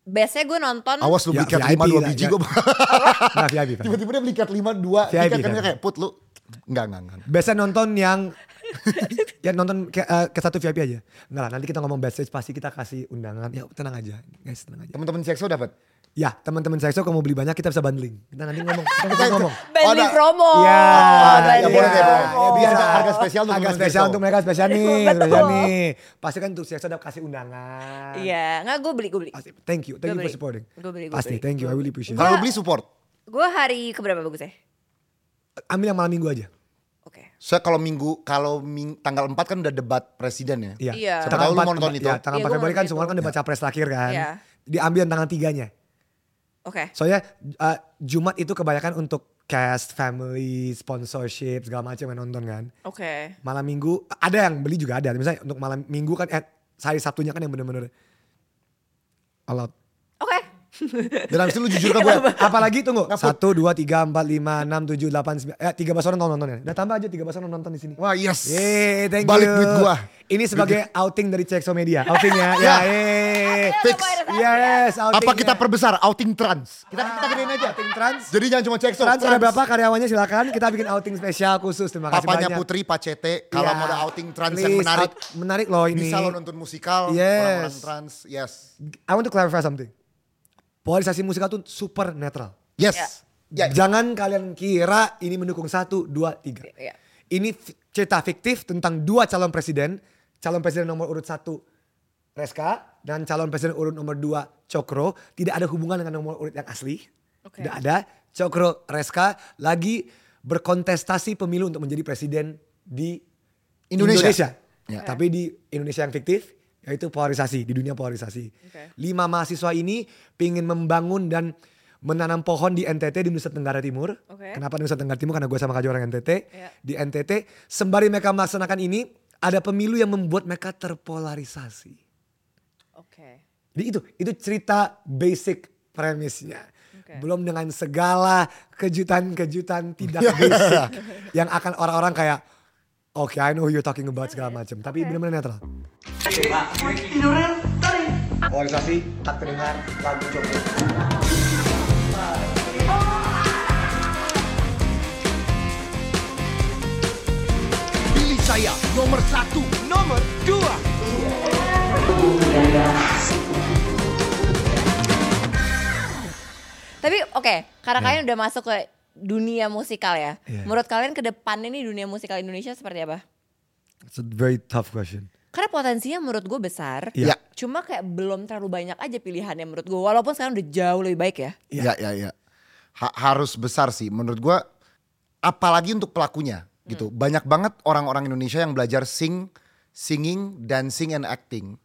Speaker 4: Biasanya gue nonton.
Speaker 1: Awas lu beli cat
Speaker 3: Ya, VIP
Speaker 1: 5 2
Speaker 3: lah,
Speaker 1: biji
Speaker 3: ya.
Speaker 1: gue.
Speaker 3: Nah, VIP. Pak.
Speaker 1: Tiba-tiba dia beli cat 5 2
Speaker 3: VIP,
Speaker 1: tiga kan dia
Speaker 3: kan?
Speaker 1: kayak put lu. Enggak, enggak, enggak.
Speaker 3: Biasa nonton yang ya nonton ke, eh, ke satu VIP aja. Enggak lah, nanti kita ngomong backstage pasti kita kasih undangan. Ya tenang aja, guys, tenang aja.
Speaker 1: Teman-teman CXO dapat.
Speaker 3: Ya, teman-teman Sexo kalau mau beli banyak kita bisa bundling. Kita nanti ngomong, kita, kita ngomong.
Speaker 1: Ada-
Speaker 4: Banding promo.
Speaker 3: Iya,
Speaker 1: ada-
Speaker 4: banding
Speaker 1: ya boleh deh, boleh.
Speaker 4: promo.
Speaker 1: Ya, biar ada harga spesial untuk
Speaker 3: harga
Speaker 1: teman-teman
Speaker 3: spesial
Speaker 1: Sexo.
Speaker 3: untuk mereka spesial nih,
Speaker 4: Betul.
Speaker 3: spesial nih. Pasti kan untuk Sexo dapat kasih undangan.
Speaker 4: Iya, nggak gue beli gue beli.
Speaker 3: Pasti. Thank you, thank
Speaker 4: Gua
Speaker 3: you for
Speaker 4: beli.
Speaker 3: supporting.
Speaker 4: Gua beli, gua
Speaker 3: Pasti,
Speaker 4: beli.
Speaker 3: thank you, I really appreciate it.
Speaker 1: Kalau lu beli support.
Speaker 4: Gue hari keberapa bagusnya?
Speaker 3: Ambil yang malam minggu aja.
Speaker 4: Oke.
Speaker 1: Saya kalau minggu kalau ming- tanggal 4 kan udah debat presiden ya.
Speaker 3: Iya.
Speaker 4: Iya.
Speaker 1: Siapa tahu lu mau nonton itu.
Speaker 3: Ya, tanggal
Speaker 4: Iya,
Speaker 3: empat
Speaker 4: gua
Speaker 3: Februari
Speaker 4: mau
Speaker 3: kan
Speaker 4: nonton
Speaker 3: semua
Speaker 4: itu.
Speaker 3: kan debat capres terakhir kan.
Speaker 4: Iya.
Speaker 3: Diambil yang tanggal tiganya.
Speaker 4: Oke.
Speaker 3: Soalnya uh, Jumat itu kebanyakan untuk cast, family, sponsorship segala macam yang nonton kan.
Speaker 4: Oke.
Speaker 3: Malam minggu ada yang beli juga ada. Misalnya untuk malam minggu kan eh, hari Sabtunya kan yang bener-bener all out.
Speaker 4: Oke.
Speaker 1: Dan habis itu lu jujur
Speaker 3: Iya,
Speaker 1: ke gue.
Speaker 3: Apalagi tunggu
Speaker 1: Ngaput.
Speaker 3: satu dua tiga empat lima enam tujuh delapan sembilan eh tiga belas orang nonton nonton ya. Udah tambah aja tiga belas orang nonton di sini.
Speaker 1: Wah, yes.
Speaker 3: Yeay, thank
Speaker 1: Balik
Speaker 3: you.
Speaker 1: duit gua.
Speaker 3: Ini sebagai outing dari Cekso Media. Outing ya. ya,
Speaker 1: Ya.
Speaker 3: yeay.
Speaker 1: Fix.
Speaker 3: Yes, outing. ya.
Speaker 1: Apa kita perbesar outing trans? Kita kita gedein aja.
Speaker 3: outing trans?
Speaker 1: Jadi jangan cuma CXO.
Speaker 3: Trans ada
Speaker 1: trans.
Speaker 3: berapa karyawannya silakan kita bikin outing spesial khusus. Terima kasih
Speaker 1: Papanya
Speaker 3: banyak.
Speaker 1: Putri, Pak CT, kalau
Speaker 3: Iya.
Speaker 1: mau ada outing trans
Speaker 3: Please,
Speaker 1: yang menarik,
Speaker 3: out- menarik loh ini.
Speaker 1: bisa lo nonton musikal, orang-orang
Speaker 3: Yes.
Speaker 1: trans, yes.
Speaker 3: I want to clarify something. Polarisasi musikal tuh super netral.
Speaker 1: Yes. Ya.
Speaker 3: Jangan kalian kira ini mendukung satu, dua, tiga.
Speaker 4: Iya.
Speaker 3: Ini fi- cerita fiktif tentang dua calon presiden. Calon presiden nomor urut satu Reska dan calon presiden urut nomor dua Cokro. Tidak ada hubungan dengan nomor urut yang asli.
Speaker 4: Oke.
Speaker 3: Tidak ada. Cokro Reska lagi berkontestasi pemilu untuk menjadi presiden di
Speaker 1: Indonesia.
Speaker 3: Indonesia. Ya, Tapi di Indonesia yang fiktif yaitu polarisasi di dunia polarisasi.
Speaker 4: Oke.
Speaker 3: Lima mahasiswa ini pingin membangun dan menanam pohon di NTT di Nusa Tenggara Timur.
Speaker 4: Oke.
Speaker 3: Kenapa di Nusa Tenggara Timur? Karena gue sama kaji orang NTT.
Speaker 4: Iya.
Speaker 3: Di NTT sembari mereka melaksanakan ini ada pemilu yang membuat mereka terpolarisasi.
Speaker 4: Oke.
Speaker 3: Jadi itu itu cerita basic premisnya.
Speaker 4: Oke.
Speaker 3: belum dengan segala kejutan-kejutan tidak basic yang akan orang-orang kayak oke I know who you're talking about segala macam tapi benar-benar netral
Speaker 5: Organisasi tak terdengar lagu coklat.
Speaker 2: Pilih saya nomor satu Nomor dua
Speaker 4: Tapi oke, karena kalian udah masuk ke dunia musikal ya.
Speaker 3: Ya. Iya.
Speaker 4: Menurut kalian ke depannya nih dunia musikal Indonesia seperti apa?
Speaker 3: it's a very tough question
Speaker 4: Karena potensinya menurut gue besar.
Speaker 3: Ya.
Speaker 1: Iya.
Speaker 4: Cuma kayak belum terlalu banyak aja pilihannya menurut gue. Walaupun sekarang udah jauh lebih baik ya.
Speaker 1: Ya ya ya. Ha- harus besar sih menurut gua apalagi untuk pelakunya gitu.
Speaker 4: Hmm.
Speaker 1: Banyak banget orang-orang Indonesia yang belajar sing, singing, dancing and acting.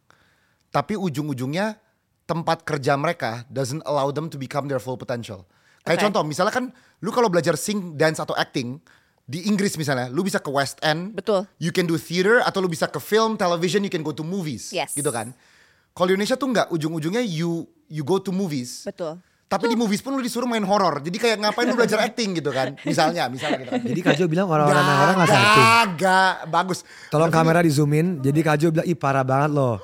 Speaker 1: Tapi ujung-ujungnya tempat kerja mereka doesn't allow them to become their full potential. Kayak
Speaker 4: Oke.
Speaker 1: contoh misalnya kan lu kalau belajar sing, dance atau acting di Inggris misalnya, lu bisa ke West End.
Speaker 4: Betul.
Speaker 1: You can do theater atau lu bisa ke film, television, you can go to movies.
Speaker 4: Yes.
Speaker 1: Gitu kan. Kalau di Indonesia tuh nggak ujung-ujungnya you you go to movies.
Speaker 4: Betul.
Speaker 1: Tapi di movies pun lu disuruh main horor. Jadi kayak ngapain lu belajar acting gitu kan. Misalnya, misalnya gitu kan.
Speaker 3: jadi Kajo bilang orang-orang
Speaker 1: Gak,
Speaker 3: orang nggak
Speaker 1: gak,
Speaker 3: acting
Speaker 1: gak, bagus.
Speaker 3: tolong kamera di zoom in jadi Kajo bilang ih parah banget loh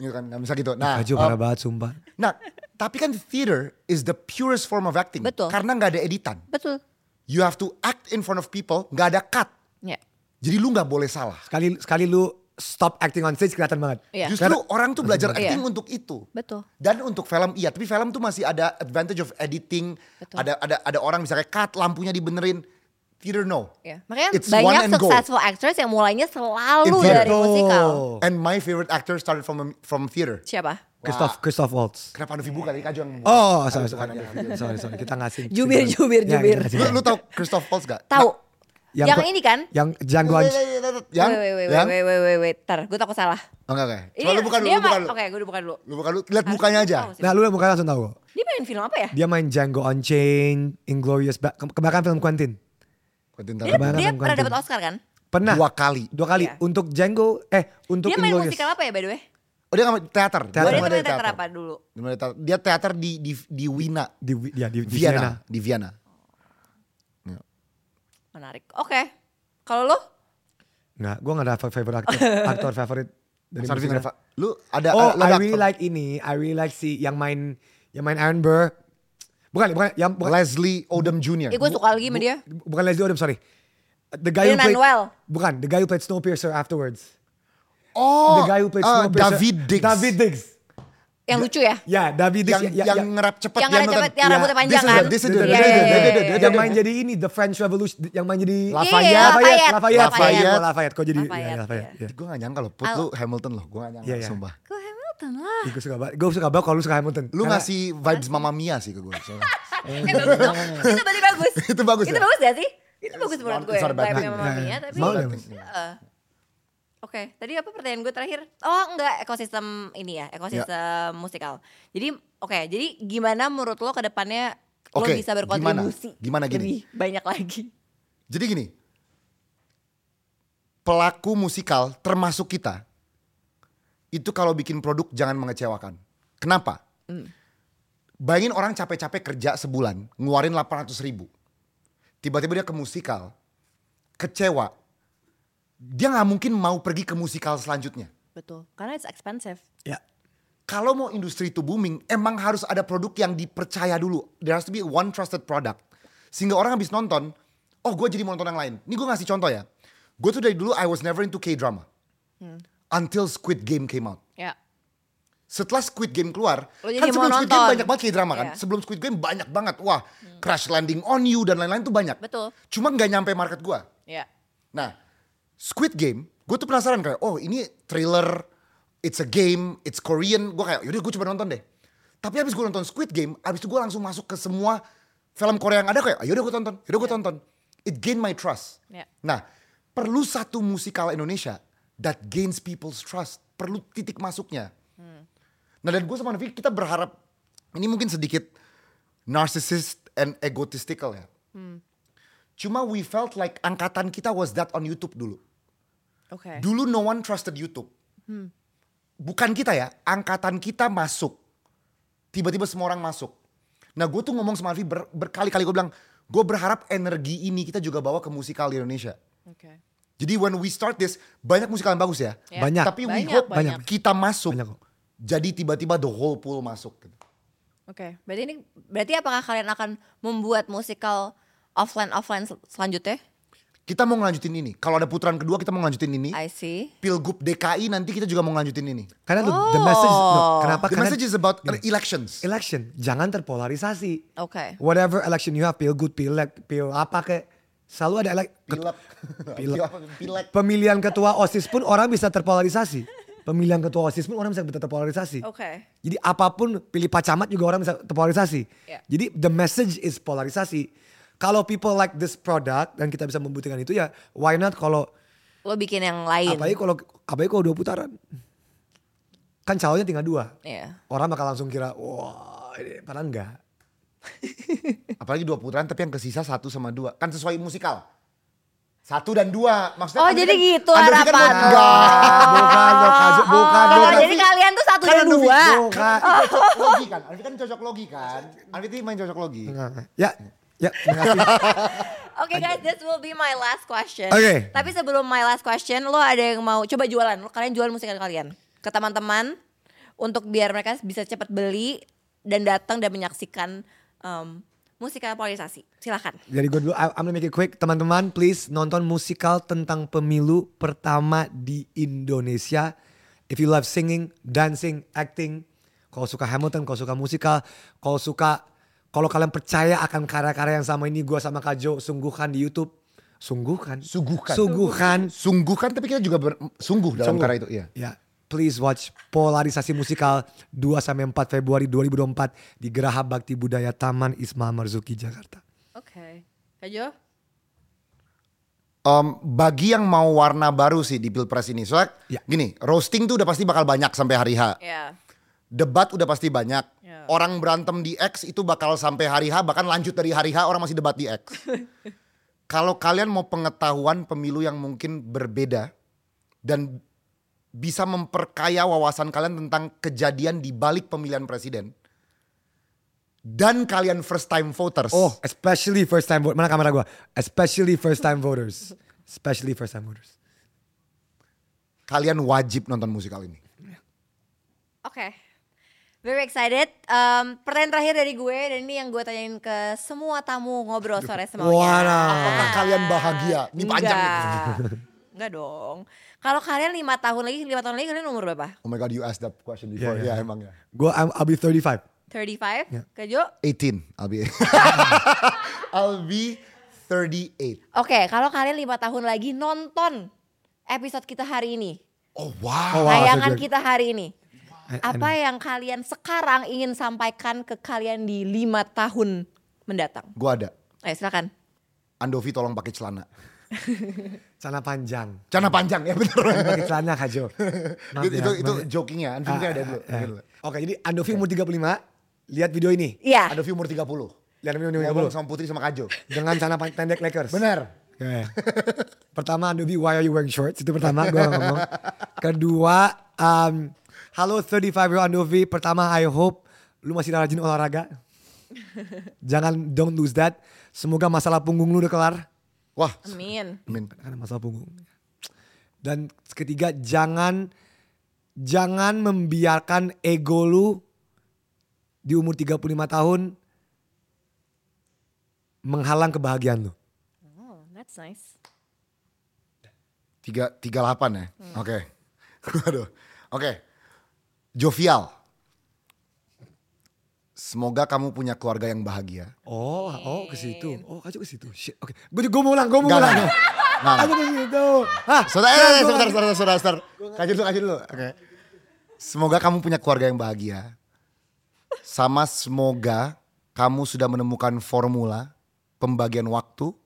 Speaker 1: Gitu kan, gak bisa gitu. Nah,
Speaker 3: Kajo
Speaker 1: um,
Speaker 3: parah banget sumpah
Speaker 1: nah, tapi kan theater is the purest form of acting.
Speaker 4: Betul.
Speaker 1: Karena nggak ada editan.
Speaker 4: Betul.
Speaker 1: You have to act in front of people, nggak ada cut.
Speaker 4: Ya.
Speaker 1: Jadi lu nggak boleh salah.
Speaker 3: sekali sekali lu stop acting on stage kelihatan banget
Speaker 4: Iya.
Speaker 1: Justru orang tuh belajar
Speaker 4: Iya.
Speaker 1: acting untuk itu.
Speaker 4: Betul.
Speaker 1: Dan untuk film iya, tapi film tuh masih ada advantage of editing.
Speaker 4: Betul.
Speaker 1: Ada ada ada orang misalnya cut lampunya dibenerin. Theater no.
Speaker 4: Ya. Makanya
Speaker 1: It's one
Speaker 4: banyak
Speaker 1: and go.
Speaker 4: successful actors yang mulainya
Speaker 1: It's
Speaker 4: selalu ya, dari
Speaker 3: Betul.
Speaker 4: musikal.
Speaker 1: And my favorite actor started from from theater.
Speaker 4: Siapa?
Speaker 3: Christoph Christoph Waltz
Speaker 1: Kenapa Novi buka tadi kajang? kan,
Speaker 3: Oh, sorry, sorry, sorry, sorry, kita ngasih.
Speaker 4: Jubir, jubir,
Speaker 3: Ya, kita
Speaker 4: jubir.
Speaker 3: ngasih.
Speaker 1: Lu, lu tau Christoph Waltz gak?
Speaker 4: Iya. Tahu.
Speaker 3: Yang
Speaker 4: Yang,
Speaker 3: ke-
Speaker 4: ini kan?
Speaker 3: Yang Django Unchained.
Speaker 1: Nah, Yang?
Speaker 4: Wait, wait, wait,
Speaker 1: yang?
Speaker 4: wait, wait, wait, wait. Ntar, gue takut salah.
Speaker 1: Oh, enggak, enggak.
Speaker 4: Ini
Speaker 1: Coba lu buka dulu,
Speaker 4: dia
Speaker 1: lu buka
Speaker 4: main-
Speaker 1: dulu.
Speaker 4: Oke, gue buka dulu.
Speaker 1: Lu buka dulu, lihat mukanya aja.
Speaker 4: Tahu sih.
Speaker 3: Nah, lu mukanya langsung tahu.
Speaker 4: Dia main film apa ya?
Speaker 3: Dia main Django Unchained, Inglorious, ba- ke- kebanyakan film Quentin.
Speaker 1: Quentin
Speaker 4: Dia,
Speaker 1: Tarantino.
Speaker 3: Kebanyakan
Speaker 4: dia
Speaker 3: film
Speaker 4: pernah
Speaker 3: Quentin.
Speaker 4: dapat Oscar kan?
Speaker 3: Pernah
Speaker 1: Dua kali.
Speaker 3: Dua kali
Speaker 4: Iya.
Speaker 3: untuk Django eh untuk
Speaker 4: Dia main
Speaker 3: Inglorious.
Speaker 4: musikal apa ya by the way?
Speaker 1: Oh, dia nggak teater.
Speaker 3: Teater.
Speaker 4: Dia
Speaker 1: nggak
Speaker 4: tuh
Speaker 1: main
Speaker 4: main teater apa dulu?
Speaker 1: Dia main teater. Dia teater di di di Wina,
Speaker 3: Di, Wi- ya, di, di Vienna.
Speaker 1: Vienna, di Vienna.
Speaker 4: Menarik. Oke. Kalau lo?
Speaker 3: Nggak, gue nggak ada fa- favorite actor, aktor favorit dari
Speaker 1: Sorry,
Speaker 3: musikal.
Speaker 1: Vinova. Lu ada eh,
Speaker 3: Oh,
Speaker 1: lu ada
Speaker 3: I really
Speaker 1: aktor.
Speaker 3: like ini. I really like si yang main yang main Iron Burr. Bukan, bukan yang bukan,
Speaker 1: Leslie Odom Jr.
Speaker 4: Ya gue suka lagi sama dia.
Speaker 3: bu- bukan Leslie Odom, sorry. The guy who
Speaker 4: Lin
Speaker 3: played
Speaker 4: Manuel.
Speaker 3: Bukan, the guy who played Snowpiercer afterwards.
Speaker 1: Oh,
Speaker 3: the guy who played
Speaker 1: uh,
Speaker 3: Snowpiercer.
Speaker 1: David Diggs.
Speaker 3: David Diggs.
Speaker 4: Yang lucu ya?
Speaker 3: Ya, David Diggs.
Speaker 1: yang
Speaker 3: ya, ya,
Speaker 1: yang
Speaker 3: ya.
Speaker 1: ngerap cepat
Speaker 4: Yang ngerap cepet, yang
Speaker 1: Ya,
Speaker 4: rambutnya panjang
Speaker 1: this is
Speaker 4: kan?
Speaker 1: the- This is
Speaker 3: Iya, Dia-
Speaker 1: the-
Speaker 3: dia-
Speaker 1: this is the-
Speaker 3: dia-
Speaker 1: this is the-
Speaker 4: Iya, iya,
Speaker 3: yang
Speaker 1: this is
Speaker 3: main
Speaker 1: the-
Speaker 3: jadi ini The French Revolution yang main jadi
Speaker 1: Lafayette.
Speaker 4: Iya,
Speaker 3: Lafayette
Speaker 4: Lafayette.
Speaker 3: Lafayette
Speaker 1: Lafayette.
Speaker 3: Oh, Lafayette kok jadi
Speaker 4: Lafayette,
Speaker 3: ya, Lafayette
Speaker 4: iya.
Speaker 3: ya.
Speaker 1: Gue gak nyangka loh, Put lu Hamilton loh, gue gak nyangka,
Speaker 3: Iya, iya.
Speaker 1: sumpah.
Speaker 4: Gue Hamilton lah.
Speaker 3: Ih, gue suka banget gue suka banget kalau lu suka Hamilton
Speaker 1: Lu
Speaker 3: Karena
Speaker 1: ngasih vibes Mamma Mia sih ke gue.
Speaker 4: Eh, bagus dong. Itu berarti bagus.
Speaker 1: Itu bagus
Speaker 4: Itu
Speaker 1: ya?
Speaker 4: bagus gak sih? Itu bagus menurut
Speaker 1: not-
Speaker 4: gue.
Speaker 1: it's not a bad
Speaker 4: Vibe-nya
Speaker 1: thing.
Speaker 4: Mamma
Speaker 3: Iya, iya.
Speaker 4: Mia, tapi...
Speaker 3: Mau nggak?
Speaker 4: Heeh. Oke, tadi apa pertanyaan gue terakhir? Oh enggak, ekosistem ini ya, ekosistem musikal. Jadi oke, jadi gimana menurut lo ke depannya lo
Speaker 1: Oke,
Speaker 4: bisa
Speaker 1: gimana?
Speaker 4: berkontribusi
Speaker 1: Gimana gini?
Speaker 4: lebih banyak lagi?
Speaker 1: Jadi gini, pelaku musikal termasuk kita, itu kalau bikin produk jangan mengecewakan. Kenapa? Bayangin orang capek-capek kerja sebulan, ngeluarin 800 ribu. Tiba-tiba dia ke musikal, kecewa. Dia nggak mungkin mau pergi ke musikal selanjutnya.
Speaker 4: Betul, karena it's expensive.
Speaker 3: ya
Speaker 1: kalau mau industri itu booming, emang harus ada produk yang dipercaya dulu. There has to be one trusted product. Sehingga orang habis nonton, oh gue jadi mau nonton yang lain. Ini gue ngasih contoh ya. Gue tuh dari dulu I was never into K-drama.
Speaker 4: Hmm.
Speaker 1: Until Squid Game came out.
Speaker 4: Ya.
Speaker 1: Setelah Squid Game keluar,
Speaker 4: Lo Oh, jadi
Speaker 1: kan sebelum
Speaker 4: mau
Speaker 1: Squid Game
Speaker 4: nonton.
Speaker 1: banyak banget K-drama kan.
Speaker 4: Iya. Hmm.
Speaker 1: Sebelum Squid Game banyak banget. Wah, Crash Landing on You dan lain-lain tuh banyak.
Speaker 4: Betul.
Speaker 1: Cuma nggak nyampe market gue.
Speaker 4: Ya.
Speaker 1: Nah, Squid Game, gue tuh penasaran kayak, oh ini thriller, it's a game, it's Korean. Gue kayak, yaudah gue coba nonton deh. Tapi abis gue nonton Squid Game, abis itu gue langsung masuk ke semua film Korea yang ada kayak, "Ah, yaudah gue tonton, yaudah gue tonton. It gained my trust.
Speaker 4: Ya.
Speaker 1: Nah, perlu satu musikal Indonesia that gains people's trust. Perlu titik masuknya. Nah dan gue sama Novi kita berharap ini mungkin sedikit narcissist and egotistical ya. Cuma we felt like angkatan kita was that on YouTube dulu.
Speaker 4: Oke. Hmm.
Speaker 1: Dulu no one trusted YouTube. Bukan kita ya, angkatan kita masuk. Tiba-tiba semua orang masuk. Nah gue tuh ngomong sama Alfi ber- berkali-kali gue bilang, gue berharap energi ini kita juga bawa ke musikal di Indonesia.
Speaker 4: Oke.
Speaker 1: Jadi when we start this, banyak musikal yang bagus ya.
Speaker 4: Ya.
Speaker 3: Banyak.
Speaker 1: Tapi we
Speaker 4: Banyak,
Speaker 1: hope
Speaker 4: banyak.
Speaker 1: kita masuk.
Speaker 3: Banyak kok.
Speaker 1: Jadi tiba-tiba the whole pool masuk. gitu.
Speaker 4: Oke. Berarti ini berarti apakah kalian akan membuat musikal offline offline sel- selanjutnya?
Speaker 1: Kita mau ngelanjutin ini. Kalau ada putaran kedua kita mau ngelanjutin ini.
Speaker 4: I see.
Speaker 1: Pilgub DKI nanti kita juga mau ngelanjutin ini.
Speaker 3: Karena the, the message, no,
Speaker 4: Oh.
Speaker 3: kenapa?
Speaker 1: The
Speaker 3: Karena
Speaker 1: message is about
Speaker 3: Gini.
Speaker 1: elections.
Speaker 3: election, jangan terpolarisasi.
Speaker 4: Oke.
Speaker 3: Whatever election you have, pil good, pil lek, pil apa kek, selalu ada elek.
Speaker 1: Pilek.
Speaker 3: Pilek.
Speaker 1: Pilek.
Speaker 3: Pemilihan ketua OSIS pun orang bisa terpolarisasi. Pemilihan ketua OSIS pun orang bisa
Speaker 1: Oh,
Speaker 3: terpolarisasi.
Speaker 4: Oke.
Speaker 3: Jadi apapun pilih Pak Camat juga orang bisa terpolarisasi.
Speaker 4: Ya.
Speaker 3: Jadi the message is polarisasi. Kalau people like this product dan kita bisa membuktikan itu ya why not kalau
Speaker 4: Lo bikin yang lain.
Speaker 3: apalagi kalau apalagi kalau dua putaran. Kan calonnya tinggal dua.
Speaker 4: Iya.
Speaker 3: Orang bakal langsung kira wah ini padahal enggak.
Speaker 1: Apalagi dua putaran tapi yang kesisa satu sama dua. Kan sesuai musikal. Satu dan dua. Maksudnya
Speaker 4: Oh,
Speaker 1: Andri
Speaker 4: jadi
Speaker 1: kan-
Speaker 4: gitu
Speaker 1: Andri kan
Speaker 4: harapan
Speaker 1: mau-
Speaker 4: lo.
Speaker 1: Enggak.
Speaker 3: bukan, bukan, bukan,
Speaker 4: Oh,
Speaker 3: bukan.
Speaker 4: jadi kalian tuh satu
Speaker 1: Kan
Speaker 4: dan
Speaker 1: Andri-
Speaker 4: dua.
Speaker 3: oh,
Speaker 4: Oh.
Speaker 1: Bukan. Andri cocok logi kan. Andri kan cocok logi kan. Andri tuh main cocok logi.
Speaker 3: Ya, ya, terima kasih.
Speaker 4: Oke guys, this will be my last question.
Speaker 3: Oke.
Speaker 4: Tapi sebelum my last question, lo ada yang mau coba jualan? Lo kalian jual musik kalian ke teman-teman untuk biar mereka bisa cepat beli dan datang dan menyaksikan um, musikal polarisasi. Silahkan.
Speaker 3: Jadi gue dulu, I- I'm gonna make it quick. Teman-teman please nonton musikal tentang pemilu pertama di Indonesia. If you love singing, dancing, acting, kalau suka Hamilton, kalau suka musikal, kalau suka, kalau kalian percaya akan karya-karya yang sama ini, gue sama Kajo sungguhkan di Youtube. Sungguhkan?
Speaker 1: Suguhkan.
Speaker 3: Suguhkan.
Speaker 1: Sungguh kan tapi kita juga ber- sungguh dalam
Speaker 3: Sungguh.
Speaker 1: karya itu. Iya.
Speaker 3: Ya, please watch Polarisasi Musikal 2 sampai 4 Februari 2024 di Geraha Bakti Budaya Taman Ismail Marzuki Jakarta.
Speaker 4: Oke. Kajo?
Speaker 1: Em, bagi yang mau warna baru sih di pilpres ini, soalnya
Speaker 3: Ya.
Speaker 1: gini, roasting tuh udah pasti bakal banyak sampai hari H.
Speaker 4: Ya.
Speaker 1: debat udah pasti banyak.
Speaker 4: Ya.
Speaker 1: Orang berantem di X itu bakal sampai hari H, bahkan lanjut dari hari H orang masih debat di X. Kalau kalian mau pengetahuan pemilu yang mungkin berbeda dan bisa memperkaya wawasan kalian tentang kejadian di balik pemilihan presiden dan kalian first time voters.
Speaker 3: Oh, especially first time voter. Mana kamera gua? Especially first time voters. Especially first time voters.
Speaker 1: kalian wajib nonton musikal ini.
Speaker 4: Oke. Very excited. Um, pertanyaan terakhir dari gue dan ini yang gue tanyain ke semua tamu ngobrol sore semaunya.
Speaker 3: Walah.
Speaker 1: Apakah kalian bahagia? Ini panjang nih.
Speaker 4: Ah. Enggak. Enggak dong. Kalau kalian lima tahun lagi, lima tahun lagi kalian umur berapa?
Speaker 1: Oh my god, you asked that question before.
Speaker 3: Ya, ya.
Speaker 1: Ya, emang ya.
Speaker 3: Gua I'm, I'll be 35.
Speaker 4: 35?
Speaker 3: Ya.
Speaker 4: Kejo?
Speaker 1: 18, I'll be. I'll be 38.
Speaker 4: Oke, kalau kalian lima tahun lagi nonton episode kita hari ini,
Speaker 1: Oh wow.
Speaker 3: Oh, wow, Eh,
Speaker 4: tayangan
Speaker 3: saya juga-
Speaker 4: kita hari ini,
Speaker 3: I- I
Speaker 4: apa yang kalian sekarang ingin sampaikan ke kalian di lima tahun mendatang?
Speaker 1: Gua ada.
Speaker 4: Ayo silakan.
Speaker 1: Andovi tolong pakai celana.
Speaker 3: Celana panjang.
Speaker 1: Celana panjang ya bener.
Speaker 3: Pakai celana Kajo. Maaf
Speaker 1: itu
Speaker 3: ya,
Speaker 1: itu, itu
Speaker 3: maaf ya.
Speaker 1: joking ya. Andovi
Speaker 3: Ah,
Speaker 1: ada dulu. Ada
Speaker 3: ah, ah.
Speaker 1: dulu.
Speaker 3: Oke, jadi Andovi umur 35. Lihat video ini.
Speaker 4: Iya.
Speaker 1: Andovi umur 30.
Speaker 3: Lihat video ini
Speaker 1: Ngomong
Speaker 3: dulu.
Speaker 1: sama Putri sama Kajo.
Speaker 3: Dengan celana pan- pendek Lakers.
Speaker 1: Bener.
Speaker 3: Oke. pertama Andovi why are you wearing shorts itu pertama gue ngomong kedua um, halo 35 year old Andovi pertama I hope lu masih rajin olahraga jangan don't lose that semoga masalah punggung lu udah kelar
Speaker 1: Wah.
Speaker 4: Amin.
Speaker 1: Amin.
Speaker 3: karena masalah punggung dan ketiga jangan jangan membiarkan ego lu di umur 35 tahun menghalang kebahagiaan lu
Speaker 4: Oh, that's nice.
Speaker 1: Tiga, 38 ya. Oke. Waduh. Oke. Jovial. Semoga kamu punya keluarga yang bahagia.
Speaker 3: Oh, oh ke situ. Oh, Kajo ke situ. Shit. Oke. Gue gue mau ulang, gue mau
Speaker 1: Enggak,
Speaker 3: ulang.
Speaker 1: enggak. Enggak,
Speaker 3: Kajo ke situ. Ah,
Speaker 1: Saudara, eh,
Speaker 3: enggak, gua-
Speaker 1: sebentar, sebentar, sebentar, sebentar. Kaji dulu, kaji dulu. Oke. Semoga kamu punya keluarga yang bahagia. Sama semoga kamu sudah menemukan formula pembagian waktu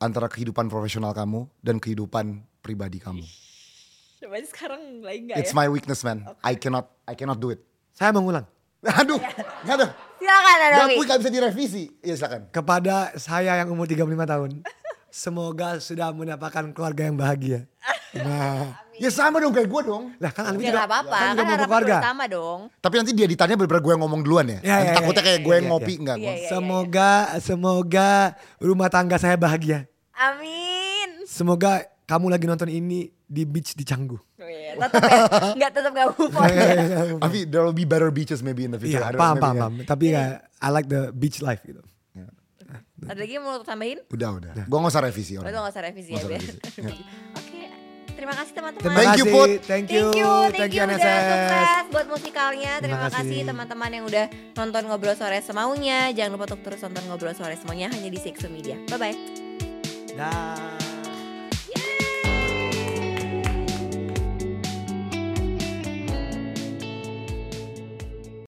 Speaker 1: antara kehidupan profesional kamu dan kehidupan pribadi kamu.
Speaker 4: Coba sekarang lagi ya? enggak
Speaker 1: It's my weakness, man. I cannot, I cannot do it.
Speaker 3: Saya mengulang.
Speaker 1: Aduh, nggak ada.
Speaker 4: Silakan
Speaker 1: Nggak,
Speaker 4: Adovi.
Speaker 1: gue nggak bisa direvisi. Ya silakan.
Speaker 3: Kepada saya yang umur 35 tahun. Semoga sudah mendapatkan keluarga yang bahagia.
Speaker 1: Nah, ya sama dong kayak gue dong.
Speaker 3: Lah kan Almi
Speaker 4: Ya
Speaker 3: juga
Speaker 4: nggak apa-apa,
Speaker 3: kan
Speaker 4: kan,
Speaker 3: juga mau
Speaker 4: harapan
Speaker 3: keluarga.
Speaker 4: bersama dong.
Speaker 1: Tapi nanti dia ditanya bener-bener gue yang ngomong duluan ya.
Speaker 3: Ya,
Speaker 1: Nanti
Speaker 3: ya, ya,
Speaker 1: takutnya
Speaker 3: ya,
Speaker 1: kayak
Speaker 3: ya,
Speaker 1: gue
Speaker 3: ya,
Speaker 1: yang
Speaker 3: ya.
Speaker 1: ngopi enggak
Speaker 4: Iya,
Speaker 1: gue.
Speaker 4: iya.
Speaker 3: Semoga semoga rumah tangga saya bahagia.
Speaker 4: Amin.
Speaker 3: Semoga kamu lagi nonton ini di beach di Canggu.
Speaker 4: Iya, tetep ya, nggak tetep nggak move on ya.
Speaker 1: Avi, there will be better beaches maybe in the future. I
Speaker 3: Iya,
Speaker 1: don't-
Speaker 3: paham,
Speaker 1: maybe
Speaker 3: paham,
Speaker 1: ya.
Speaker 3: paham. Tapi ya, I like the beach life gitu.
Speaker 4: Ada lagi yang mau tambahin?
Speaker 1: Udah, udah. Gue gak usah revisi
Speaker 4: Oh,
Speaker 1: orang.
Speaker 4: itu nggak usah revisi ya.
Speaker 1: Nggak usah
Speaker 4: biar.
Speaker 1: revisi.
Speaker 4: Oke, Oke. terima kasih teman-teman.
Speaker 3: Terima
Speaker 1: Thank you,
Speaker 3: kasih.
Speaker 1: Put.
Speaker 3: Thank you,
Speaker 4: Thank you, thank you, udah
Speaker 3: NSS.
Speaker 4: sukses buat musikalnya. Terima,
Speaker 3: Terima
Speaker 4: kasih
Speaker 3: kasih.
Speaker 4: teman-teman yang udah nonton Ngobrol Sore Semaunya. Jangan lupa untuk terus nonton Ngobrol Sore Semaunya hanya di Sexo Media. Bye-bye.
Speaker 3: Dah.